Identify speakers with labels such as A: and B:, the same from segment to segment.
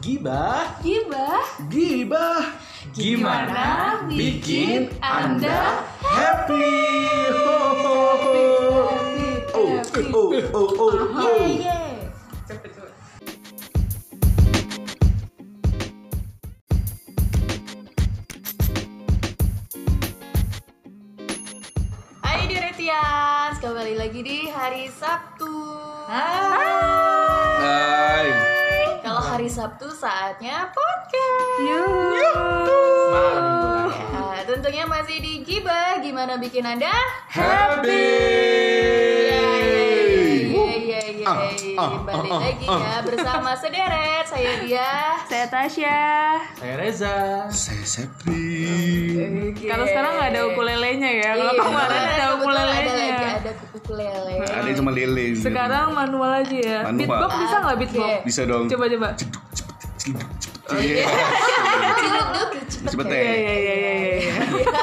A: Gibah,
B: Gibah
A: gibah.
B: Gimana bikin Anda
A: happy? Ho, ho, ho. Oh, oh, oh, oh, oh.
B: Cepet cepet Hai Diretians, kembali lagi di hari Sabtu Hai
A: Hai.
B: Kalau hari Sabtu saatnya podcast Ya, Tentunya masih di Gibah, gimana bikin Anda?
A: Happy.
B: Iya, iya,
A: Ah,
B: iya.
A: ah,
B: Balik
A: ah,
B: lagi
A: ah.
B: ya bersama sederet saya dia.
C: Saya Tasya.
D: Saya Reza.
A: Saya Sepri.
C: Kalau sekarang nggak ada ukulelenya ya.
B: Iya,
C: Kalau kemarin ada
B: kebetulan Ada lagi
C: ukulelenya.
B: ada ukulele.
A: Ada yang cuma lele. gitu.
C: Sekarang manual aja ya.
A: Manual.
C: Beatbox bisa nggak beatbox?
B: Oke.
A: bisa dong.
C: Coba Oh, coba.
A: Iya.
B: Ciluk dulu cepet.
A: Cepet
B: kayak.
A: ya.
C: Iya iya iya iya. iya.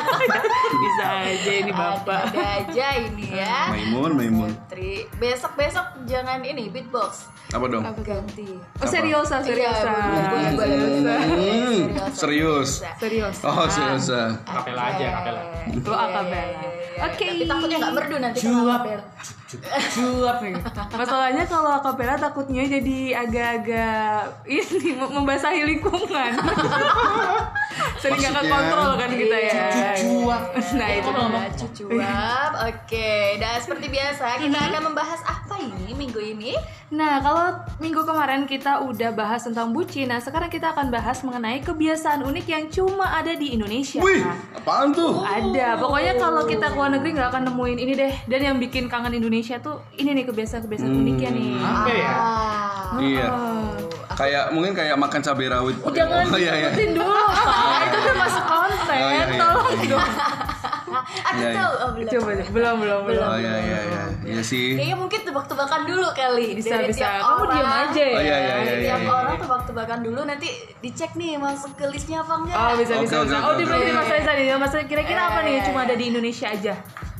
C: Bisa aja ini
B: Ada,
C: bapak.
B: ada aja ini ya.
A: Maimun, Maimun.
B: Putri, besok besok jangan ini beatbox.
A: Apa dong?
B: Ganti.
C: Oh seriosa seriosa.
B: Iya, boleh, boleh, boleh, boleh.
A: Hmm,
B: Seriosa.
A: serius.
C: Seriosa.
A: Oh, serius. ah.
D: Kapela
B: Iya,
D: aja, kapela.
C: Lo akapela. Oke.
B: Tapi takutnya nggak merdu nanti kalau
D: Cuap.
B: akapela.
C: Julap nih. Masalahnya kalau akapela takutnya jadi agak-agak ini mem- membasahi lingkungan. Sering nggak
A: Maksudnya?
C: kontrol kan kita
B: Iya.
C: ya.
D: Cuap.
C: Nah itu
B: Nah, cucuap. Oke, dan seperti biasa kita
C: Mm-hmm.
B: akan membahas apa ini minggu ini?
C: Nah, kalau minggu kemarin kita udah bahas tentang bucin, nah sekarang kita akan bahas mengenai kebiasaan unik yang cuma ada di Indonesia. Nah,
A: Wih, apaan tuh?
C: Ada, pokoknya kalau kita ke luar negeri nggak akan nemuin ini deh. Dan yang bikin kangen Indonesia tuh ini nih kebiasaan-kebiasaan
A: Hmm.
C: uniknya nih.
D: Apa ya?
C: Oh.
B: Ah,
A: Iya. Kayak mungkin kayak makan cabai rawit.
C: Jangan
A: Oh, iya, iya.
C: disebutin dulu, Pak. Itu udah masuk konten.
A: Oh, iya, iya.
C: Tolong dong.
B: aku
A: Iya,
B: tahu. Oh, belum.
C: Coba deh. Belum, belum, belum.
A: Oh iya iya iya. Iya sih.
B: Kayaknya mungkin tebak-tebakan dulu kali.
C: Bisa,
B: Dari
C: bisa.
B: tiap
C: Kamu
B: orang.
C: diam aja ya.
A: Oh, iya, iya,
B: Dari
A: iya,
B: tiap
A: iya.
B: orang tebak-tebakan dulu nanti dicek nih masuk ke listnya apa enggak.
C: Oh, bisa,
A: Oke,
C: bisa.
A: oke,
C: bisa.
A: oke,
C: Oh, di
A: oke.
C: di Mas Reza nih. Mas Reza, kira-kira apa
B: Iya,
C: nih?
B: iya,
C: Cuma
B: iya.
C: ada di Indonesia aja.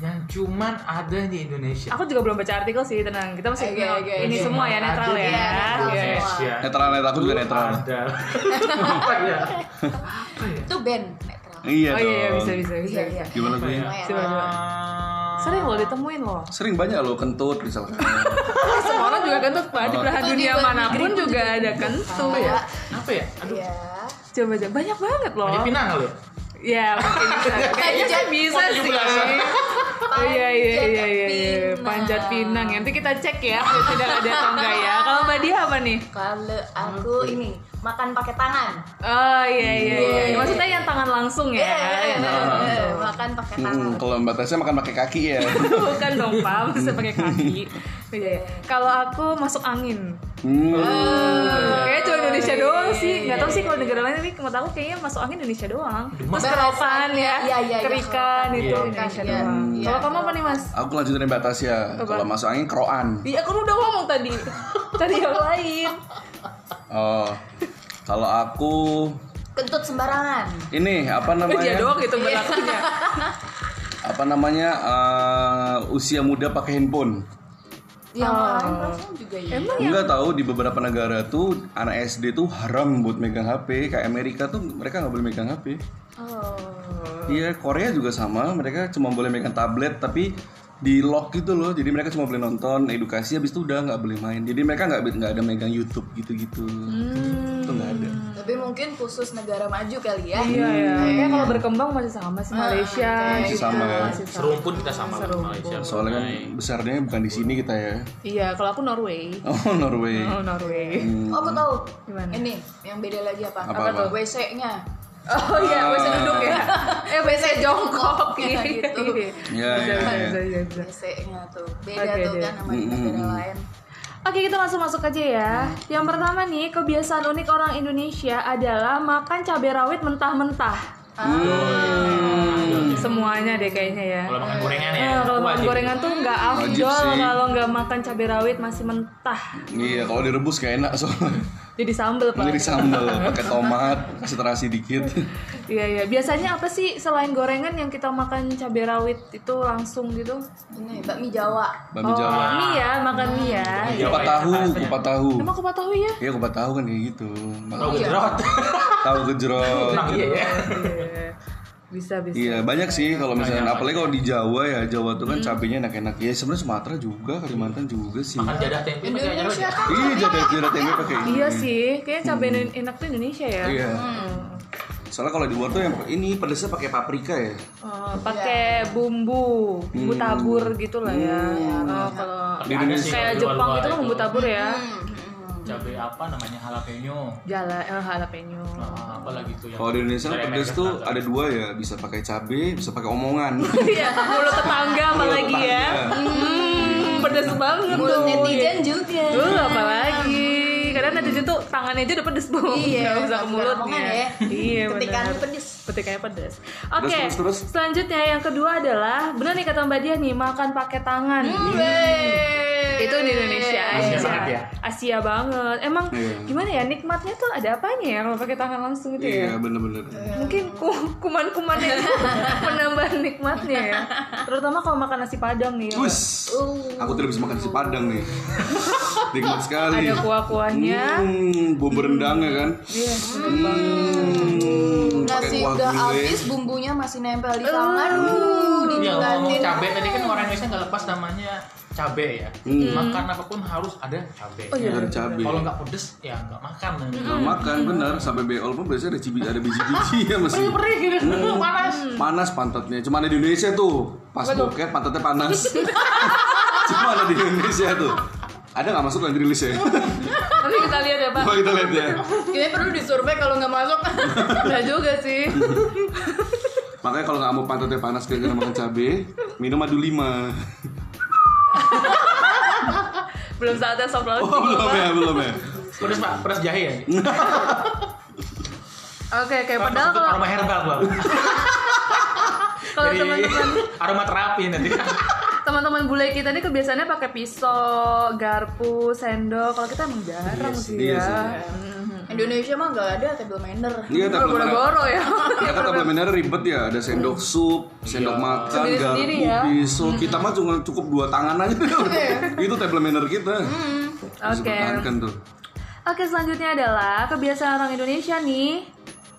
D: Yang cuman ada di Indonesia.
C: Aku juga belum baca artikel sih, tenang. Kita masih
B: Oke, oke,
C: ini
D: oke.
C: semua ya netral ya.
D: Iya,
B: netral
C: Iya.
B: semua.
A: Netral netral aku juga netral.
D: Ada. Apa ya? Apa ya?
B: Itu band netral.
C: Oh
A: Iya dong.
C: iya, iya, bisa bisa bisa.
B: Iya, iya.
C: bisa.
A: Gimana gue?
D: Apa ya?
B: Coba, coba.
D: Ah,
C: Sering loh ditemuin loh.
A: Sering banyak loh kentut misalkan.
C: Kan Semua orang juga kentut pak di belahan
B: Itu di
C: dunia
B: luar
C: manapun
B: negeri
C: juga
B: juga
C: ada
B: kentut,
C: kentut.
B: Pak.
C: ya.
D: Apa ya? Aduh.
B: Iya.
C: Coba aja banyak banget loh.
D: Di Pinang kali ya?
C: Ya mungkin bisa. Kayaknya sih bisa
D: Mau
C: sih.
D: 17-an.
C: Oh iya iya iya iya iya.
B: Pinang.
C: Panjat Pinang. ya. Nanti kita cek ya tidak ada atau enggak ya. Kalau Mbak Dia apa nih?
B: Kalau aku ini makan pakai tangan.
C: Oh iya iya iya. Maksudnya yang tangan
A: Iya,
C: langsung ya.
B: Eh, eh, makan pakai tangan.
A: Hmm, kalau Mbak Tasya makan pakai kaki ya.
C: Bukan dong Pak, maksudnya pakai kaki. Iya iya. Kalau aku masuk angin.
A: Hmm.
C: Kayaknya cuma Indonesia doang sih. Gak tau sih kalau negara lain tapi menurut aku kayaknya masuk angin Indonesia doang. Mas
D: Bahasa-
C: keropan ya,
B: Iya, iya, iya, keropan.
C: kerikan itu
D: Iya.
C: Indonesia
B: Iya,
C: doang.
B: iya.
C: Kalau kamu apa nih Mas?
A: Aku lanjut dari Mbak Tasya.
C: Apa?
A: Kalau masuk angin kroan.
C: Iya, aku udah ngomong tadi. tadi yang lain.
A: Oh. Kalau aku
B: Kentut sembarangan.
A: ini apa
C: Dia
A: namanya?
C: doang gitu berlakunya.
A: Apa namanya? eh, usia muda pakai handphone.
B: Yang
C: Oh.
B: lain perasaan juga ya.
C: Emang ya?
A: Enggak tahu di beberapa negara tuh anak SD tuh haram buat megang HP. Kayak Amerika tuh mereka nggak boleh megang HP.
B: Oh.
A: Iya, Korea juga sama. Mereka cuma boleh megang tablet tapi di lock gitu loh. Jadi mereka cuma boleh nonton edukasi habis itu udah nggak boleh main. Jadi mereka nggak nggak ada megang YouTube gitu-gitu.
C: Hmm.
A: Itu nggak ada.
B: Tapi mungkin khusus negara maju kali ya.
C: Iya ya. Kayaknya kalau berkembang masih sama sih Malaysia
B: kayak
A: gitu.
C: gitu.
A: Sama ya.
C: Masih sama.
D: Serumpun kita sama lah Malaysia.
A: Soalnya kan besarnya bukan di sini kita ya.
C: Iya, kalau aku Norway.
A: Oh, Norway.
C: Oh, Norway.
B: Oh, aku tahu.
C: Gimana?
B: Ini yang beda lagi apa?
A: Hmm. Apa, apa?
B: WC-nya.
C: Oh iya, WC duduk ya. Eh, WC jongkok
B: Iya, gitu.
C: Iya,
A: Iya,
C: Bisa,
A: iya, iya.
C: bisa, bisa, bisa.
B: WC-nya tuh. Beda
C: Oke,
B: tuh
C: oke.
B: kan sama
A: Hmm.
B: di negara lain.
C: Oke kita langsung masuk aja ya Yang pertama nih kebiasaan unik orang Indonesia adalah makan cabai rawit mentah-mentah
B: Ah,
A: Hmm.
C: Semuanya deh kayaknya ya
D: Kalau makan gorengan ya.
C: Eh, Kalau makan
D: wajib.
C: gorengan tuh nggak
A: Wajib
C: afdol
A: sih.
C: kalau nggak makan cabai rawit masih mentah
A: Iya, kalau direbus kayak enak soalnya.
C: Jadi sambel
A: Ini
C: pak
A: di sambal, pakai tomat, kasih terasi dikit.
C: Iya iya. Biasanya apa sih selain gorengan yang kita makan cabai rawit itu langsung gitu?
B: Ini bakmi Jawa.
A: Bakmi Jawa.
C: mie ya, makan mie ya.
D: Iya.
A: Kupat tahu, kupat tahu.
C: Emang kupat tahu ya?
A: Iya kupat tahu kan kayak gitu.
D: Tahu
A: Makan-
D: gejrot.
A: Tahu gejrot.
D: Nah, Oh, iya ya.
C: Iya. Bisa bisa.
A: Iya banyak sih kalau misalnya apalagi kalau di Jawa ya Jawa tuh kan cabenya enak-enak ya sebenarnya Sumatera juga Kalimantan juga sih.
D: Makan jadah tempe pakai jadah
B: Indonesia
D: gejrot.
B: kan
A: Iya jadi jadi tempe pakai ini.
C: Iya sih, kayaknya cabai en- enak tuh Indonesia ya.
A: Iya. Soalnya kalau di luar tuh yang ini pedesnya pakai paprika ya.
C: Eh, pakai bumbu, bumbu tabur gitu lah ya. Eh, kalau
A: Di
D: Ada
A: Indonesia
D: sih
C: kayak
D: kalau di
C: Jepang
D: luar-luar
C: itu kan bumbu tabur ya.
D: Cabai apa namanya jalapeno.
C: Jala eh, jalapeno.
A: Oh.
D: Nah, apalagi tuh yang
A: Kalau di Indonesia kan
D: Kayak
A: pedes
D: megas
A: tuh
D: naga.
A: ada dua ya bisa pakai cabe bisa pakai omongan.
C: Iya, mulut tetangga apalagi ya.
A: Tetangga.
C: Hmm, pedes banget
B: mulut
C: tuh.
B: netizen juga.
C: Tuh, apalagi. Kadang netizen tuh tangannya aja udah pedes bu.
B: Iya,
C: Nggak usah
B: nggak
C: ke
B: usah
C: mulutnya.
B: omongan ya.
C: Iya,
B: Ketikan
C: benar.
B: pedes.
C: Petikannya pedes. Oke,
A: terus, terus.
C: selanjutnya yang kedua adalah benar nih kata Mbak Dia nih makan pakai tangan. Iya.
B: Wey.
C: Itu di Indonesia
D: Asia
C: aja.
D: banget ya.
C: Asia banget. Emang
A: Iya.
C: gimana ya nikmatnya tuh ada apanya ya kalau pakai tangan langsung gitu ya?
A: Iya bener-bener.
C: mungkin ku- kuman-kumannya itu menambah nikmatnya ya terutama kalau makan nasi padang nih ya, Mbak.
A: Wus, aku tidak bisa makan nasi padang nih. Nikmat sekali.
C: ada kuah-kuahnya
A: Iya. Hmm, bumbu rendang ya kan.
C: Iya,
A: Hmm, pakai
B: Nasi
A: kuah
B: udah
A: gulai.
B: habis bumbunya masih nempel di tangan. Uh,
D: Iya ngomong
B: dinikmatin.
D: cabai tadi kan orang Indonesia nggak lepas namanya cabai ya.
A: Hmm.
D: Makan apapun harus ada cabai.
C: Oh, iya. Hmm.
A: Ada cabe.
D: Kalau nggak pedes ya nggak makan.
A: Nggak makan bener sampai beol pun biasanya ada cibi ada biji-biji ya masih
D: Perih gitu, panas.
A: panas pantatnya cuma ada di Indonesia tuh pas boket pantatnya panas cuma ada di Indonesia tuh ada nggak masuk nanti rilis ya
C: nanti kita lihat ya pak
A: Coba kita lihat ya
B: Kayaknya perlu disurvey kalau nggak masuk.
C: nggak juga sih
A: makanya kalau nggak mau pantatnya panas gara-gara makan cabe minum madu lima
C: belum saatnya soft launching
A: oh belum
C: Pak.
A: ya belum ya
D: Pedes pak, pedes jahe ya.
A: Hmm.
C: oke oke padahal
D: Padahal
C: kalau
D: aroma herbal bang.
C: kalau
D: Jadi,
C: teman-teman
D: aroma terapi nanti.
C: teman-teman bule kita nih kebiasaannya pakai pisau garpu sendok kalau kita emang jarang sih
A: iya
C: ya
A: sih.
C: Mhm.
B: Indonesia mah nggak ada table manner.
A: iya tapi mereka
C: boro-boro ya
A: mereka tablet manner ribet ya ada sendok sup sendok makan
C: Sendiri-sendiri
A: garpu
C: ya.
A: pisau kita mah cuma cukup dua tangan aja itu tablet manner kita harus
C: Oke.
A: pertahankan tuh
C: Oke selanjutnya adalah kebiasaan orang Indonesia nih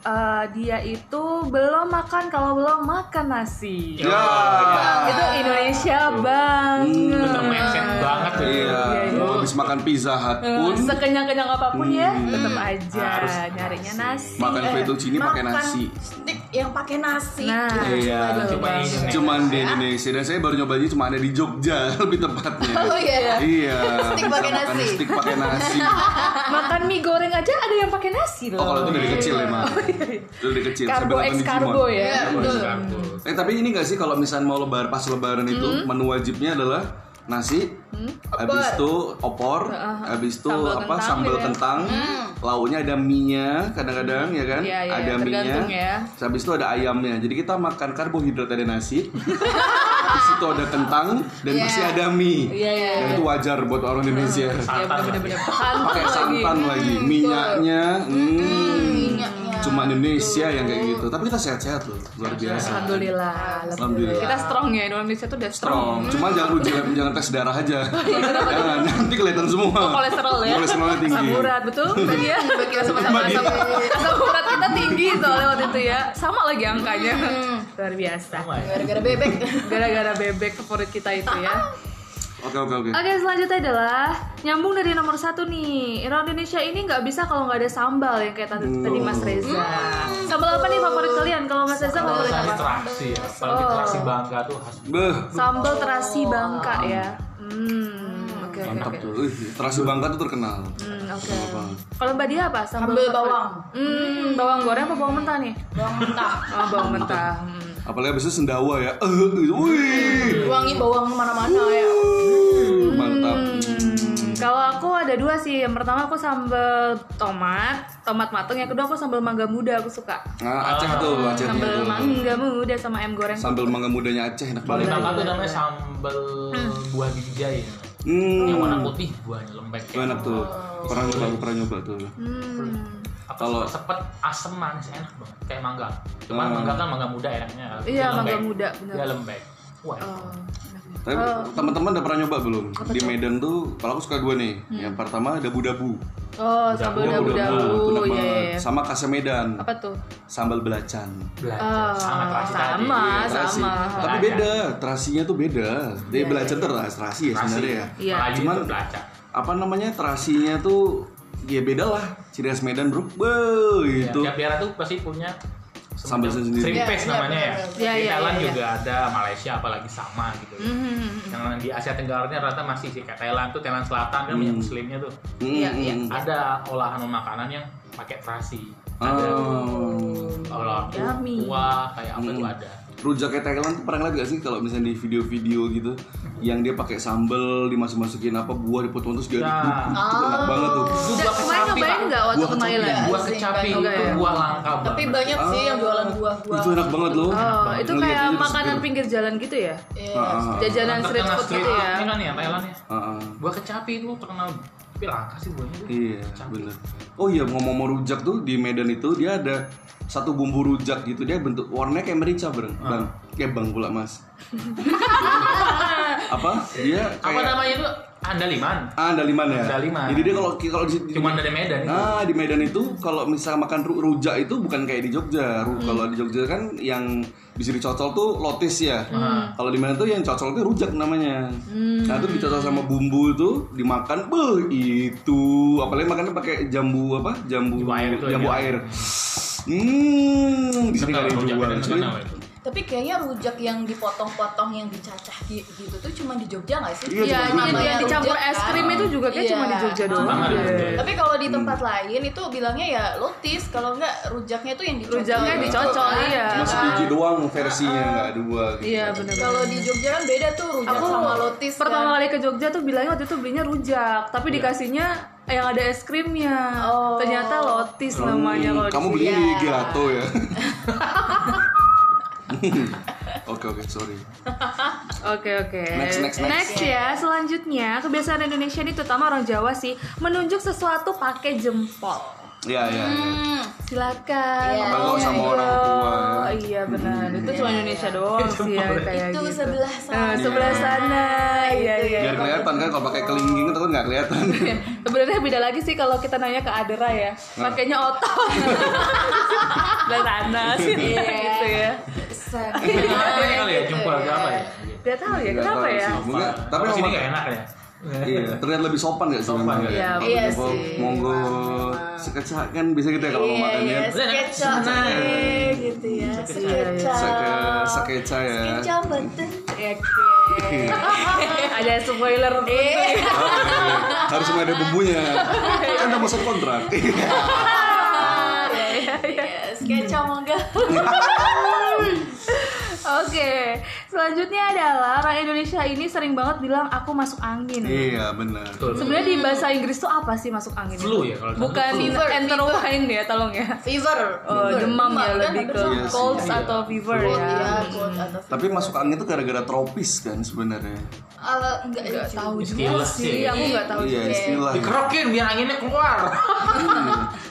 C: eh, dia itu belum makan kalau belum makan nasi.
A: ya
C: Itu Indonesia
A: Hmm,
C: banget.
D: Bener mindset banget tuh.
A: Iya, mau habis makan pizza hut
C: Eh,
A: pun
C: Hmm, Sekenyang-kenyang apapun ya, tetap aja
D: Harus
C: nyarinya nasi.
A: Hmm, makan fettuccine pakai
B: Makan
A: nasi.
B: Stick yang pakai nasi.
C: Nah,
A: Iya,
D: Coba ini.
A: cuman di Indonesia dan saya baru nyobanya cuma ada di Jogja lebih
B: Oh
A: tepatnya.
B: iya.
A: Iya,
B: Stik
A: bisa
B: pakai
A: makan
B: nasi.
A: Stik pakai nasi.
C: makan mie goreng aja ada yang pakai nasi loh.
A: Oh, kalau itu dari kecil
C: iya.
A: emang. Itu dari kecil. saya
C: karbo
A: belakan
C: ex
A: di Jimon.
C: karbo
B: Iya,
C: ya.
B: betul.
A: Eh tapi ini gak sih kalau misalnya mau lebar pas lebaran itu
C: Hmm?
A: menu wajibnya adalah nasi, habis itu opor, habis itu
C: Uh, Sambal
A: apa
C: kentang
A: sambal
C: gitu ya.
A: kentang, lauknya ada mie-nya kadang-kadang ya kan,
C: Iya, iya,
A: ada
C: iya,
A: mie-nya,
C: tergantung ya.
A: Terus habis itu ada ayamnya. Jadi kita makan karbohidrat ada nasi, habis itu ada kentang dan
B: Iya.
A: masih ada mie.
C: Iya, iya,
A: Dan itu wajar buat orang Indonesia.
C: Ya
D: Santan.
C: bener-bener
A: Pakai santan
C: Hmm,
A: lagi, minyaknya, Hmm.
B: Minyaknya.
A: Eh, cuma Indonesia yang kayak gitu. Tapi kita sehat-sehat loh, luar biasa.
C: Alhamdulillah.
A: Alhamdulillah.
C: Kita strong ya Indonesia tuh udah strong.
A: strong. Cuma jangan uji lab, jangan tes darah aja.
C: Oh, iya,
A: jangan, nanti kelihatan semua.
C: kolesterol ya
A: Kolesterolnya tinggi.
C: asam urat betul tadi ya kita sama-sama
A: Mbak
C: asam, asam urat kita tinggi soalnya waktu itu ya sama lagi angkanya luar biasa
D: Sama ya.
B: Gara-gara bebek.
C: gara-gara bebek favorit kita itu ya
A: Oke oke oke.
C: Oke selanjutnya adalah nyambung dari nomor satu nih Orang Indonesia ini nggak bisa kalau nggak ada sambal yang kayak tadi, tadi Mas Reza Sambal apa nih favorit kalian? Kalau Mas Reza
D: Kalau
C: favorit
D: saya
C: apa?
D: terasi
C: Iya.
D: ya, apalagi
C: Oh.
D: terasi bangga tuh khas.
A: Beh,
C: Sambal terasi bangka ya Hmm oke oke
A: mantap
C: oke
A: tuh. Ih, terasi bangka tuh terkenal.
C: Hmm, oke. Kalau Mbak Dia apa?
B: Sambal
C: Sambal favorit?
B: bawang.
C: Hmm, bawang goreng apa bawang mentah nih?
B: Bawang mentah.
C: Oh, bawang mentah. Hmm.
A: Apalagi abis itu sendawa ya. Eh, gitu. Wih,
B: Wangi bawang kemana-mana ya.
A: Uh. mantap.
C: Hmm. Kalau aku ada dua sih. Yang pertama aku sambal tomat, tomat mateng. Yang kedua aku sambal mangga muda aku suka.
A: Nah, Aceh tuh, Aceh
C: Ah, Sambal
A: tuh.
C: mangga muda sama ayam goreng.
A: Sambal mangga mudanya Aceh enak
D: Kalau di
A: banget.
D: Bangka tuh namanya sambal
C: Hmm.
D: buah binjai ya.
A: Hmm,
D: Yang warna putih buahnya lembek.
A: enak tuh. Pernah nyoba, aku pernah nyoba tuh.
C: Hmm.
D: apa
A: Kalau-
D: sepet asem manis enak banget kayak mangga cuman
A: Hmm.
D: mangga kan mangga muda enaknya
C: Iya,
D: Dia
C: mangga
D: lembek.
C: muda, benar.
D: dia lembek wah
C: Oh, enak nih.
A: Tapi teman-teman udah pernah nyoba belum? Di Medan tuh kalau aku suka dua nih. Yang pertama dabu-dabu.
C: Hmm. Oh, sambal
A: Nah,
D: Dabu-dabu,
A: Itu
C: dabu-dabu,
A: enak
C: ya,
A: banget.
C: ya.
A: Sama khasnya Medan.
C: Apa tuh?
A: Sambal belacan.
D: belajar
C: Oh,
D: sama kelas tadi
C: sama.
D: Iya.
A: terasi.
C: Ah, sama.
A: Tapi beda, terasinya tuh beda. Dia belacan tuh terasi, terasi ya
D: terasi
A: sebenarnya ya.
C: Iya.
D: Melayu
A: Cuman-
D: itu belajar
A: Apa namanya terasinya tuh ya beda lah. Ciri khas Medan bro, Beuh,
D: itu
A: gitu.
D: tiap daerah tuh pasti punya
A: Sambal
D: semacam
A: sendiri.
D: shrimp
B: Iya,
D: paste
B: iya,
D: namanya ya,
B: benar,
C: benar. Iya,
D: di
C: iya,
D: Thailand
C: iya, Hmm,
D: juga ada Malaysia apalagi sama gitu ya. yang di Asia Tenggara ini rata masih sih kayak Thailand tuh Thailand Selatan kan banyak muslimnya tuh
A: Hmm,
C: Iya, iya.
A: hmm.
D: ada olahan makanan yang pakai terasi ada
A: Oh.
D: olahan
C: Yummy.
D: kuah kayak apa tuh ada
A: Rujaknya Thailand tuh pernah lihat gak sih kalau misalnya di video-video gitu yang dia pakai sambel dimasuk-masukin apa buah dipotong terus jadi
D: Ya.
A: itu enak
C: Oh.
A: banget tuh.
D: Itu
C: Dan
D: buah
C: kemarin
D: kecapi,
C: nyobain
D: Pak. Iya,
C: nggak waktu
A: Buah
C: ke
A: kecapi.
C: Thailand?
D: buah
B: Asing,
D: kecapi
B: Pak.
D: itu
C: Oke.
D: buah langka
B: Tapi
D: banget.
B: banyak sih yang jualan buah-buah.
A: Ah. Itu enak banget loh.
C: Oh,
A: Ah,
C: itu
A: Ngeliat
C: kayak
A: aja terus
C: makanan
A: seger.
C: pinggir jalan gitu ya?
B: Iya.
A: Ah, ah, ah.
C: Jajanan
D: Terkenal
C: street food gitu ya?
D: ini kan ya Thailand ya
A: Ah, ah.
D: buah kecapi itu terkenal tapi langka sih buahnya tuh.
A: Iya,
D: Kecapi.
A: bener. Oh iya, ngomong mau rujak tuh di Medan itu dia ada satu bumbu rujak gitu dia bentuk warnanya kayak merica bang, bang kayak bang pula mas. apa dia
D: apa
A: kayak
D: namanya itu andaliman
A: ah daliman ya.
D: Andaliman.
A: Jadi dia kalau kalau di, di
D: cuman dari Medan itu
A: Nah di Medan itu kalau misal makan ru- rujak itu bukan kayak di Jogja. Ru- Kalau di Jogja kan yang bisa dicocol tuh lotis ya. Kalau di Medan tuh yang cocol itu rujak namanya. Nah itu dicocol sama bumbu itu dimakan, beh itu apalagi makannya pakai jambu apa? Jambu
D: Jambu air itu
A: jambu
D: ya.
A: air. Hmm, di sini
D: Terkenal
A: nggak ada yang
D: rujak
A: jual,
D: Medan,
A: cuy.
D: terkenal itu.
B: Tapi kayaknya rujak yang dipotong-potong yang dicacah gi- gitu tuh cuma di Jogja nggak sih?
A: Iya,
C: Iya, ini
A: cuma Namanya
C: yang dicampur
B: rujak,
C: es
B: kan?
C: krim itu juga kayak
B: Iya.
C: cuma di Jogja doang.
D: Sama di Jogja.
C: deh.
B: Tapi kalau di tempat
A: Hmm.
B: lain itu bilangnya ya lotis, kalau nggak rujaknya tuh yang dicocol.
C: Rujaknya dicocol, iya.
A: Cuma sedikit doang versinya nggak ada dua. Gitu.
C: Iya, benar.
B: Kalau di Jogja kan beda tuh rujak
C: Aku
B: sama lotis.
C: pertama
B: kan.
C: kali ke Jogja tuh bilangnya waktu itu belinya rujak, tapi dikasihnya yang ada es krimnya.
B: Oh.
C: Ternyata lotis namanya
A: Hmm,
C: kalau di
A: Kamu
C: sini.
A: belinya di
B: Iya.
A: gelato ya. Oke oke sorry.
C: Oke oke.
A: Next, next, next.
C: ya, selanjutnya kebiasaan Indonesia ini terutama orang Jawa sih menunjuk sesuatu pakai jempol.
A: Iya iya. iya.
B: Hmm.
C: Silakan.
B: Iya,
A: Apa lo sama
B: iya.
A: orang tua?
C: Oh iya benar. Itu cuma Indonesia doang sih yang kayak
B: Itu
C: gitu.
B: sebelah sana.
C: Eh, sebelah sana. Iya iya.
A: Biar kelihatan kan kalau pakai kelingking takut nggak kelihatan.
C: Sebenarnya beda lagi sih kalau kita nanya ke Adera ya. Pakainya otot. sebelah sana sini gitu ya.
B: Sana.
C: Iya,
D: Apa ya kali ya
B: Gitu
D: jempol
B: ya.
D: apa ya
C: Gak tahu ya
A: Nggak
C: kenapa
A: tahu
C: ya.
A: sih. Mungkin- tapi
D: tapi sini
A: emang-
D: nggak enak ya
A: Iya, terlihat lebih sopan gak sih?
D: Sopan
A: memang?
D: nggak ya?
C: Iya,
A: Kalau
B: iya
A: jempol,
B: sih.
A: Monggo sekecak kan bisa gitu ya kalau mau
B: Iya,
A: makan
B: iya,
A: ya.
B: skeca eh, gitu
C: Iya,
B: ya, skeca,
A: Seke, sekeca ya.
B: skeca beten,
A: Iya.
C: Ada spoiler
B: eh,
A: Oh, iya. Harus ada bumbunya. Kan udah masuk kontrak.
B: Iya, skeca mangga,
C: Oke, selanjutnya adalah orang Indonesia ini sering banget bilang aku masuk angin.
A: Iya benar.
D: betul
C: Sebenarnya di bahasa Inggris tuh apa sih masuk angin?
D: Flu ya kalau di sana
C: Bukan
D: tuh flu.
B: Fever,
C: enterwine ya, tolong ya.
B: fever,
C: Oh,
B: Fever.
C: demam ya
B: kan
C: lebih
B: hampir
C: ke
B: sama.
A: Iya sih.
C: cold
D: Iya.
C: atau fever
B: Cold,
C: ya.
B: iya, cold atau fever.
A: Tapi masuk angin tuh gara-gara tropis kan sebenarnya.
B: Eh, enggak,
C: Gak
B: juga.
C: tahu juga
D: Istilah
C: sih,
D: sih.
C: aku nggak tahu
A: Iya
C: juga.
A: istilah.
D: dikerokin biar anginnya keluar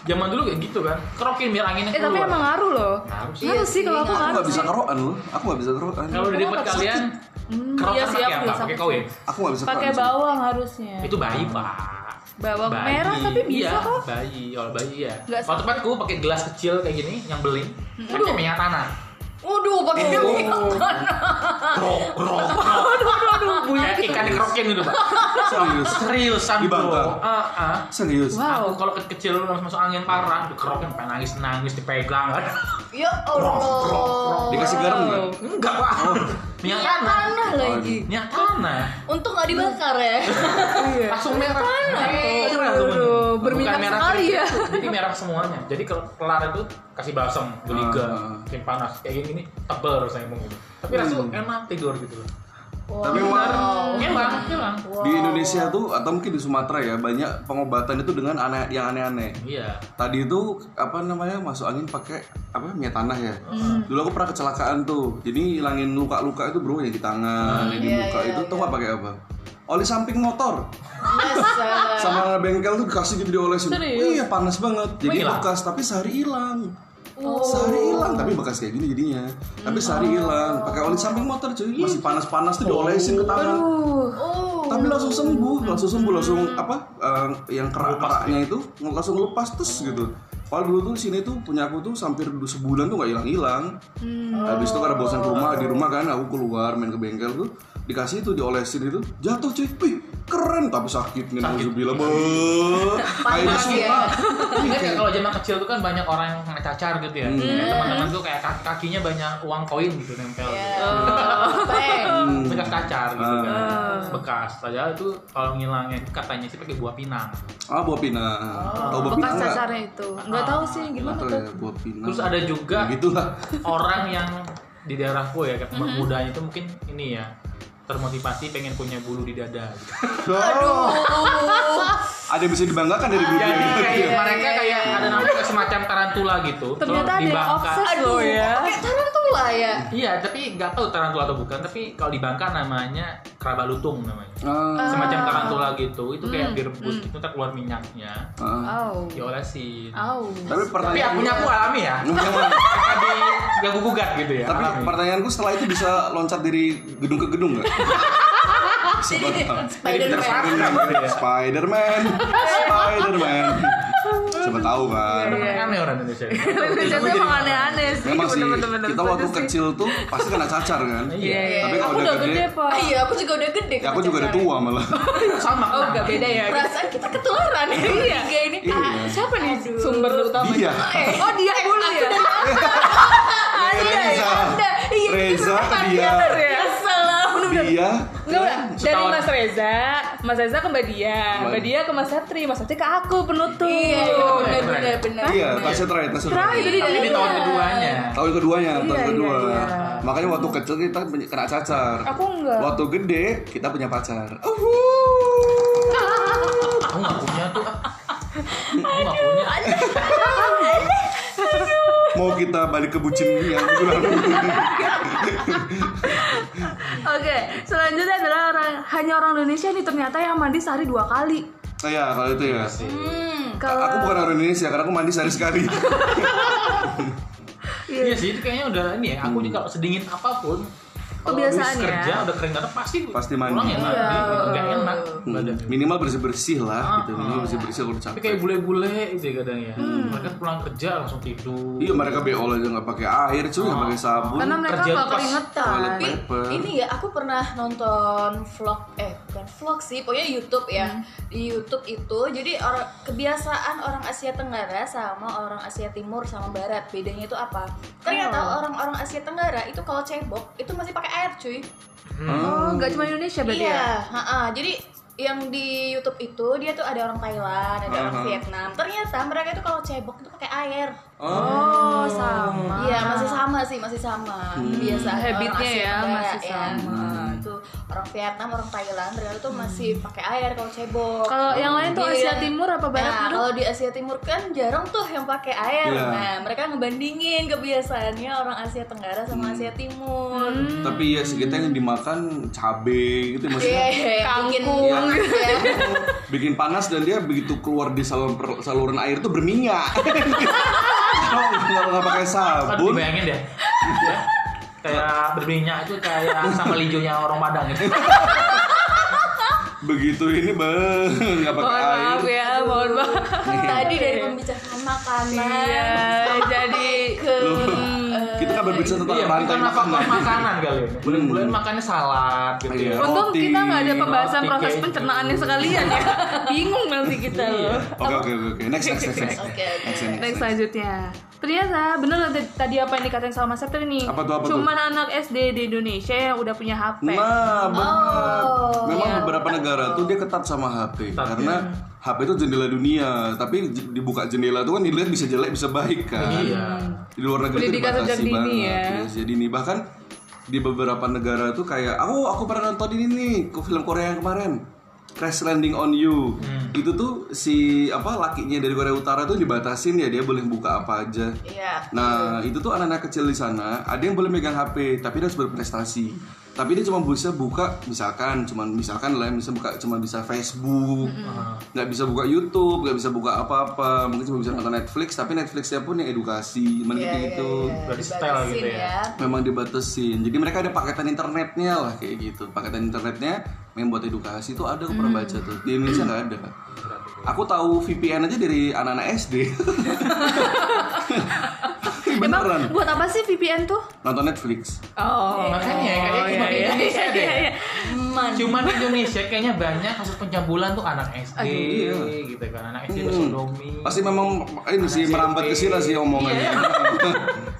D: zaman dulu kayak gitu kan kerokin biar anginnya
C: Eh
D: keluar
C: tapi emang Hmm, ngaruh loh.
D: harus
B: Iya
C: Ngaruh sih
B: sih,
C: kalau aku
A: Aku
C: ngaruh.
A: nggak bisa keroan loh. Aku nggak bisa keroan.
D: kalau di tempat kalian kerokan
C: iya sih,
D: pakai
C: aku
D: apa
C: bisa.
D: pakai kowe
A: Aku nggak bisa
C: Pakai
A: keroan.
C: bawang harusnya.
D: itu bayi pak
C: Bawang merah tapi bisa
D: iya,
C: kok.
D: bayi kalau bayi ya
C: Nggak Hmm.
D: waktu tempatku pakai gelas kecil kayak gini yang beling pakai minyak tanah
B: Waduh, pakai
A: Oh.
B: minyak
D: krok krok krok Kayak ikan dikerokin gitu pak
A: Serius.
D: seriusan
A: Di Bangka.
D: bro ah ah
A: Serius.
C: Wow.
D: Aku kalau ke- kecil lu langsung masuk angin parah, dikerokin pengen nangis nangis dipegang kan.
B: ya Allah,
A: Dikasih garam nggak?
D: Enggak pak.
A: Oh.
D: Minyak
B: Minyak
D: tanah.
B: tanah lagi,
D: Minyak tanah.
B: Ya, untung nggak dibakar ya,
C: Iya.
D: Langsung merah.
C: Aduh,
D: Merah langsung.
C: aduh,
D: Bukan
C: berminyak
D: merah
C: sekali
D: sedikit,
C: ya.
D: Jadi merah semuanya. Jadi kalau kelar itu kasih balsam, geliga,
A: Ah. Hmm.
D: bikin panas kayak gini, tebel rasanya mungkin. Tapi langsung enak tidur gitu loh.
A: Tapi emang
D: Ngilang, ngilang.
A: di Indonesia tuh atau mungkin di Sumatera ya banyak pengobatan itu dengan aneh yang aneh-aneh.
D: Iya.
A: Tadi itu apa namanya masuk angin pakai apa minyak tanah ya.
C: Hmm.
A: Dulu aku pernah
C: Iya,
A: kecelakaan tuh. Jadi hilangin luka-luka itu bro yang di tangan, yang di muka itu tuh nggak pakai apa? oli samping motor
B: Yes.
A: sama bengkel tuh dikasih gitu diolesin
C: Serius?
A: iya panas banget jadi
D: hilang?
A: bekas tapi sehari hilang sehari hilang tapi bekas kayak gini jadinya tapi sehari hilang pakai oli samping motor cuy masih panas-panas tuh diolesin ke tangan
C: Uh,
B: Oh.
A: tapi langsung sembuh langsung sembuh langsung apa eh, yang kerak-keraknya
D: ya?
A: itu nge- langsung lepas terus gitu Padahal dulu tuh sini tuh punya aku tuh hampir du- sebulan tuh nggak hilang-hilang. Habis itu karena bosan ke rumah
D: Oh.
A: di rumah kan aku keluar main ke bengkel tuh dikasih itu diolesin itu jatuh cuy, wih keren tapi sakitnya nauzubillah beuh. kayak
B: Panas
A: disunat.
D: Ingat nggak kalau zaman kecil tuh kan banyak orang yang ngecacar gitu ya. Kayak Teman-teman tuh kayak kaki kakinya banyak uang koin gitu nempel. Gitu.
B: Bang.
A: Hmm.
D: Bekas cacar gitu
A: Ah.
D: kan. Bekas. Padahal itu kalau ngilangnya itu katanya sih pakai buah pinang.
A: Ah buah pinang. Tahu buah
C: bekas
A: pinang nggak?
C: cacarnya itu. Nggak tahu sih gimana
A: Atau
C: tuh.
A: ya buah pinang.
D: Terus ada juga
A: gitulah.
D: orang yang di daerahku ya, kayak mudanya itu mungkin ini ya termotivasi pengen punya bulu di dada. Gitu.
A: Aduh.
C: Oh,
A: ada yang bisa dibanggakan dari dunia
D: Jadi
A: ini.
D: kayak
B: iya,
D: mereka
B: iya,
D: kayak ada namanya kayak semacam tarantula gitu.
C: Ternyata ada yang
D: dibangkas.
C: obses loh ya.
B: Pakai tarantula ya.
D: Iya, tapi nggak tahu tarantula atau bukan. Tapi kalau di Bangka namanya keraba lutung namanya.
A: Ah,
D: Semacam tarantula gitu. Itu kayak direbus gitu, ntar keluar minyaknya,
A: ah.
C: Au.
D: diolesin.
C: Au.
A: Tapi
D: Tapi
A: pertanyaan
D: akunya aku alami ya. Tadi gak gugat gitu ya.
A: Tapi
D: alami.
A: pertanyaanku setelah itu bisa loncat dari gedung ke gedung nggak?
D: Jadi
B: Spider-Man.
D: terserah gitu ya.
A: Spiderman, Spiderman. Siapa tahu kan?
D: Emang Aneh orang Indonesia.
A: Iya,
C: Indonesia tuh emang aneh-aneh sih.
A: Memang sih, Iya,
C: bener-bener.
A: kita waktu kecil tuh pasti kena cacar kan?
D: Iya.
A: Tapi kalau
C: Aku
A: udah
C: udah
A: gede,
C: gede, Pak.
B: Iya, aku juga udah gede.
A: ya aku juga udah tua malah.
D: Sama.
C: Oh, nggak beda ya.
B: Perasaan kita ketularan ya. Iya. Tiga ini.
A: Iya.
B: Ah, Siapa nih?
C: Sumber utama.
A: Dia,
C: Oh, dia dulu ya.
A: Reza,
B: Anda. Iya,
A: Reza, dia,
C: Ya.
B: Salah.
A: dia.
C: Enggak, Mbak. dari
D: Setahun.
C: Mas Reza, Mas Reza ke Mbak Dia, Mbak Dia ke Mas Satri, Mas Satri ke aku penutup.
B: Iya, iya, benar
D: Keren.
B: benar benar.
A: Iya, tasnya terakhir, tasnya
C: Terakhir,
A: terakhir.
C: jadi
D: Tapi di tahun keduanya.
A: Tahun keduanya, tahun
C: Iya,
A: kedua.
C: iya, iya.
A: Makanya waktu kecil kita punya- kena cacar.
C: Aku enggak.
A: Waktu gede kita punya pacar.
D: Aku nggak punya tuh. ah. Aku nggak punya.
A: Mau kita balik ke bucin yang minggu lalu.
C: Oke, selanjutnya adalah orang hanya orang Indonesia nih ternyata yang mandi sehari dua kali.
A: Oh ya kalau itu ya.
C: Hmm,
A: Aku
C: kalau
A: bukan orang Indonesia karena aku mandi sehari sekali.
D: Iya sih, itu kayaknya udah ini ya. Aku
A: Hmm.
D: juga sedingin apapun. Kalau habis
C: Kebiasaan ya.
D: kerja udah keringetan pasti
A: Pasti mandi. Hmm.
D: Pulang ya mandi, gitu. nggak enak badan.
A: Minimal bersih bersih lah gitu. Minimal bersih bersih kalau
D: Ah, Tapi
A: capek.
D: kayak bule-bule gitu ya kadang ya. Mereka pulang kerja langsung tidur.
A: Iya mereka bo aja nggak pakai air cuy,
D: Ah.
A: nggak pakai sabun.
C: karena mereka
D: kerja
C: nggak
D: pas
C: keringetan.
A: Toilet
B: Tapi
A: paper.
B: ini ya aku pernah nonton vlog eh bukan vlog sih pokoknya YouTube ya
A: Hmm.
B: di YouTube itu jadi orang kebiasaan orang Asia Tenggara sama orang Asia Timur sama Barat bedanya itu apa ternyata
A: Oh.
B: orang-orang Asia Tenggara itu kalau cebok itu masih pakai air cuy
A: Hmm.
C: Oh, nggak cuma Indonesia berarti
B: iya
C: ya?
B: ha-ha. jadi yang di YouTube itu dia tuh ada orang Thailand ada orang
A: Aha.
B: Vietnam ternyata mereka itu kalau cebok itu pakai air
A: Oh.
C: Oh, sama.
B: Iya masih sama sih masih sama kebiasaan eh, orang
C: Hmm. Habitnya
B: Asia
C: ya,
B: Tenggara,
C: masih
B: ya.
C: sama.
B: Nah, itu orang Vietnam orang Thailand ternyata tuh masih pakai air kalau cebok.
C: Hmm. Kalau yang lain tuh
B: Jadi,
C: Asia Timur apa Barat
B: Nah,
C: gitu?
B: kalau di Asia Timur kan jarang tuh yang pakai air.
A: Iya.
B: Nah, mereka ngebandingin kebiasaannya orang Asia Tenggara sama
C: Hmm.
B: Asia Timur.
A: Tapi ya segitu yang dimakan cabe gitu
B: Iya,
A: maksudnya
B: iya, iya. bikin
C: Kangkung.
B: Iya.
A: bikin panas dan dia begitu keluar di saluran per- saluran air tuh berminyak. Kalau nggak nggak pakai
D: Aduh,
A: sabun,
D: dibayangin deh. Ya. Kayak berminyak itu kayak sama lijonya orang Padang gitu.
A: begitu ini beh nggak pakai
C: Mohon
A: air.
C: maaf ya, mohon maaf.
B: Tadi dari pembicaraan makanan.
C: Iya, jadi hmm.
A: Loh, kita kan berbicara tentang
D: Iya,
A: rantai
D: bukan apa
A: makanan.
D: makanan kali ya. Bulan-bulan makannya salad gitu
A: Hmm. Iya.
D: ya.
C: Untung
A: Roti,
C: kita nggak ada pembahasan
D: roti,
C: proses
D: keju.
C: pencernaannya sekalian ya. Bingung nanti kita loh.
A: Oke oke oke, oke. Next next next next.
B: Oke, oke.
A: Next, next,
C: Next
A: next.
C: selanjutnya. Ternyata bener loh tadi- tadi apa yang dikatain sama Mas Satri nih.
A: Apa tuh, apa tuh?
C: Cuman anak SD di Indonesia yang udah punya HP.
A: Nah, benar.
B: Oh,
A: Memang
C: iya.
A: beberapa negara tuh dia ketat sama HP
D: Ketat, iya.
A: karena HP itu jendela dunia, tapi j- dibuka jendela tuh kan dilihat bisa jelek bisa baik kan.
D: Iya.
A: Di luar negeri itu
C: Pendidikan sejak
A: dibatasi
C: dini
A: banget.
C: ya.
A: Ya, jadi ini bahkan di beberapa negara tuh kayak aku aku pernah nonton ini nih ke film Korea yang kemarin Crash Landing on You
D: Hmm.
A: itu tuh si apa lakinya dari Korea Utara tuh dibatasin ya dia boleh buka apa aja
B: Iya.
A: Nah, itu tuh anak-anak kecil di sana, ada yang boleh megang HP, tapi dia harus berprestasi. tapi dia cuma bisa buka misalkan cuman misalkan lah ya, bisa buka cuma bisa Facebook nggak bisa buka YouTube nggak bisa buka apa-apa mungkin cuma bisa nonton Netflix tapi Netflixnya pun yang edukasi
B: Iya,
A: mending kayak
B: iya,
A: gitu
B: iya.
D: Berarti style gitu
B: Dibatasin
D: ya.
A: memang dibatesin jadi mereka ada paketan internetnya lah kayak gitu paketan internetnya yang buat edukasi itu ada aku pernah baca tuh di Indonesia nggak ada aku tahu VPN aja dari anak-anak SD
C: Emang
A: beneran
C: buat apa sih VPN tuh?
A: nonton Netflix
C: Oh, oh,
D: Makanya kayaknya cuma di
C: iya,
D: Indonesia
C: iya,
D: deh.
C: iya, iya.
B: Man.
D: Cuman di Indonesia kayaknya banyak kasus pencabulan tuh anak SD
A: iya.
D: gitu kan. Anak SD
A: Hmm.
D: bersodomi. Iya.
A: pasti memang ini sih merambat ke sini sih omongannya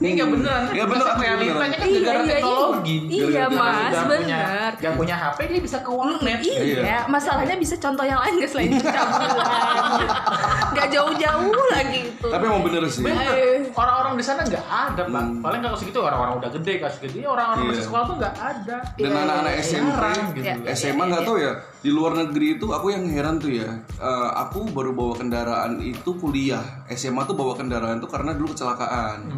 D: Ini nggak beneran.
A: ya bener
D: Masuk
A: aku
D: realitanya kan
C: Iya, iya,
D: negara
C: iya.
D: teknologi.
C: Iya,
A: Gara-gara
C: Mas,
D: Yang punya-
C: bener.
D: Yang punya HP dia bisa ke warnet.
A: Iya.
C: Iya, masalahnya bisa contoh yang lain gak selain pencabulan. gak jauh-jauh lagi itu.
A: tapi emang bener sih
D: Bener. Orang-orang di sana nggak ada, Pak.
A: Hmm.
D: Paling nggak kasus gitu orang-orang udah gede kasus gitu. Orang-orang
A: Iya.
D: masih sekolah tuh nggak ada. Iya,
A: dan anak-anak SMP
D: Jarang gitu.
C: Iya.
A: SMA nggak tahu ya di luar negeri itu aku yang heran tuh ya eh, aku baru bawa kendaraan itu kuliah SMA tuh bawa kendaraan tuh karena dulu kecelakaan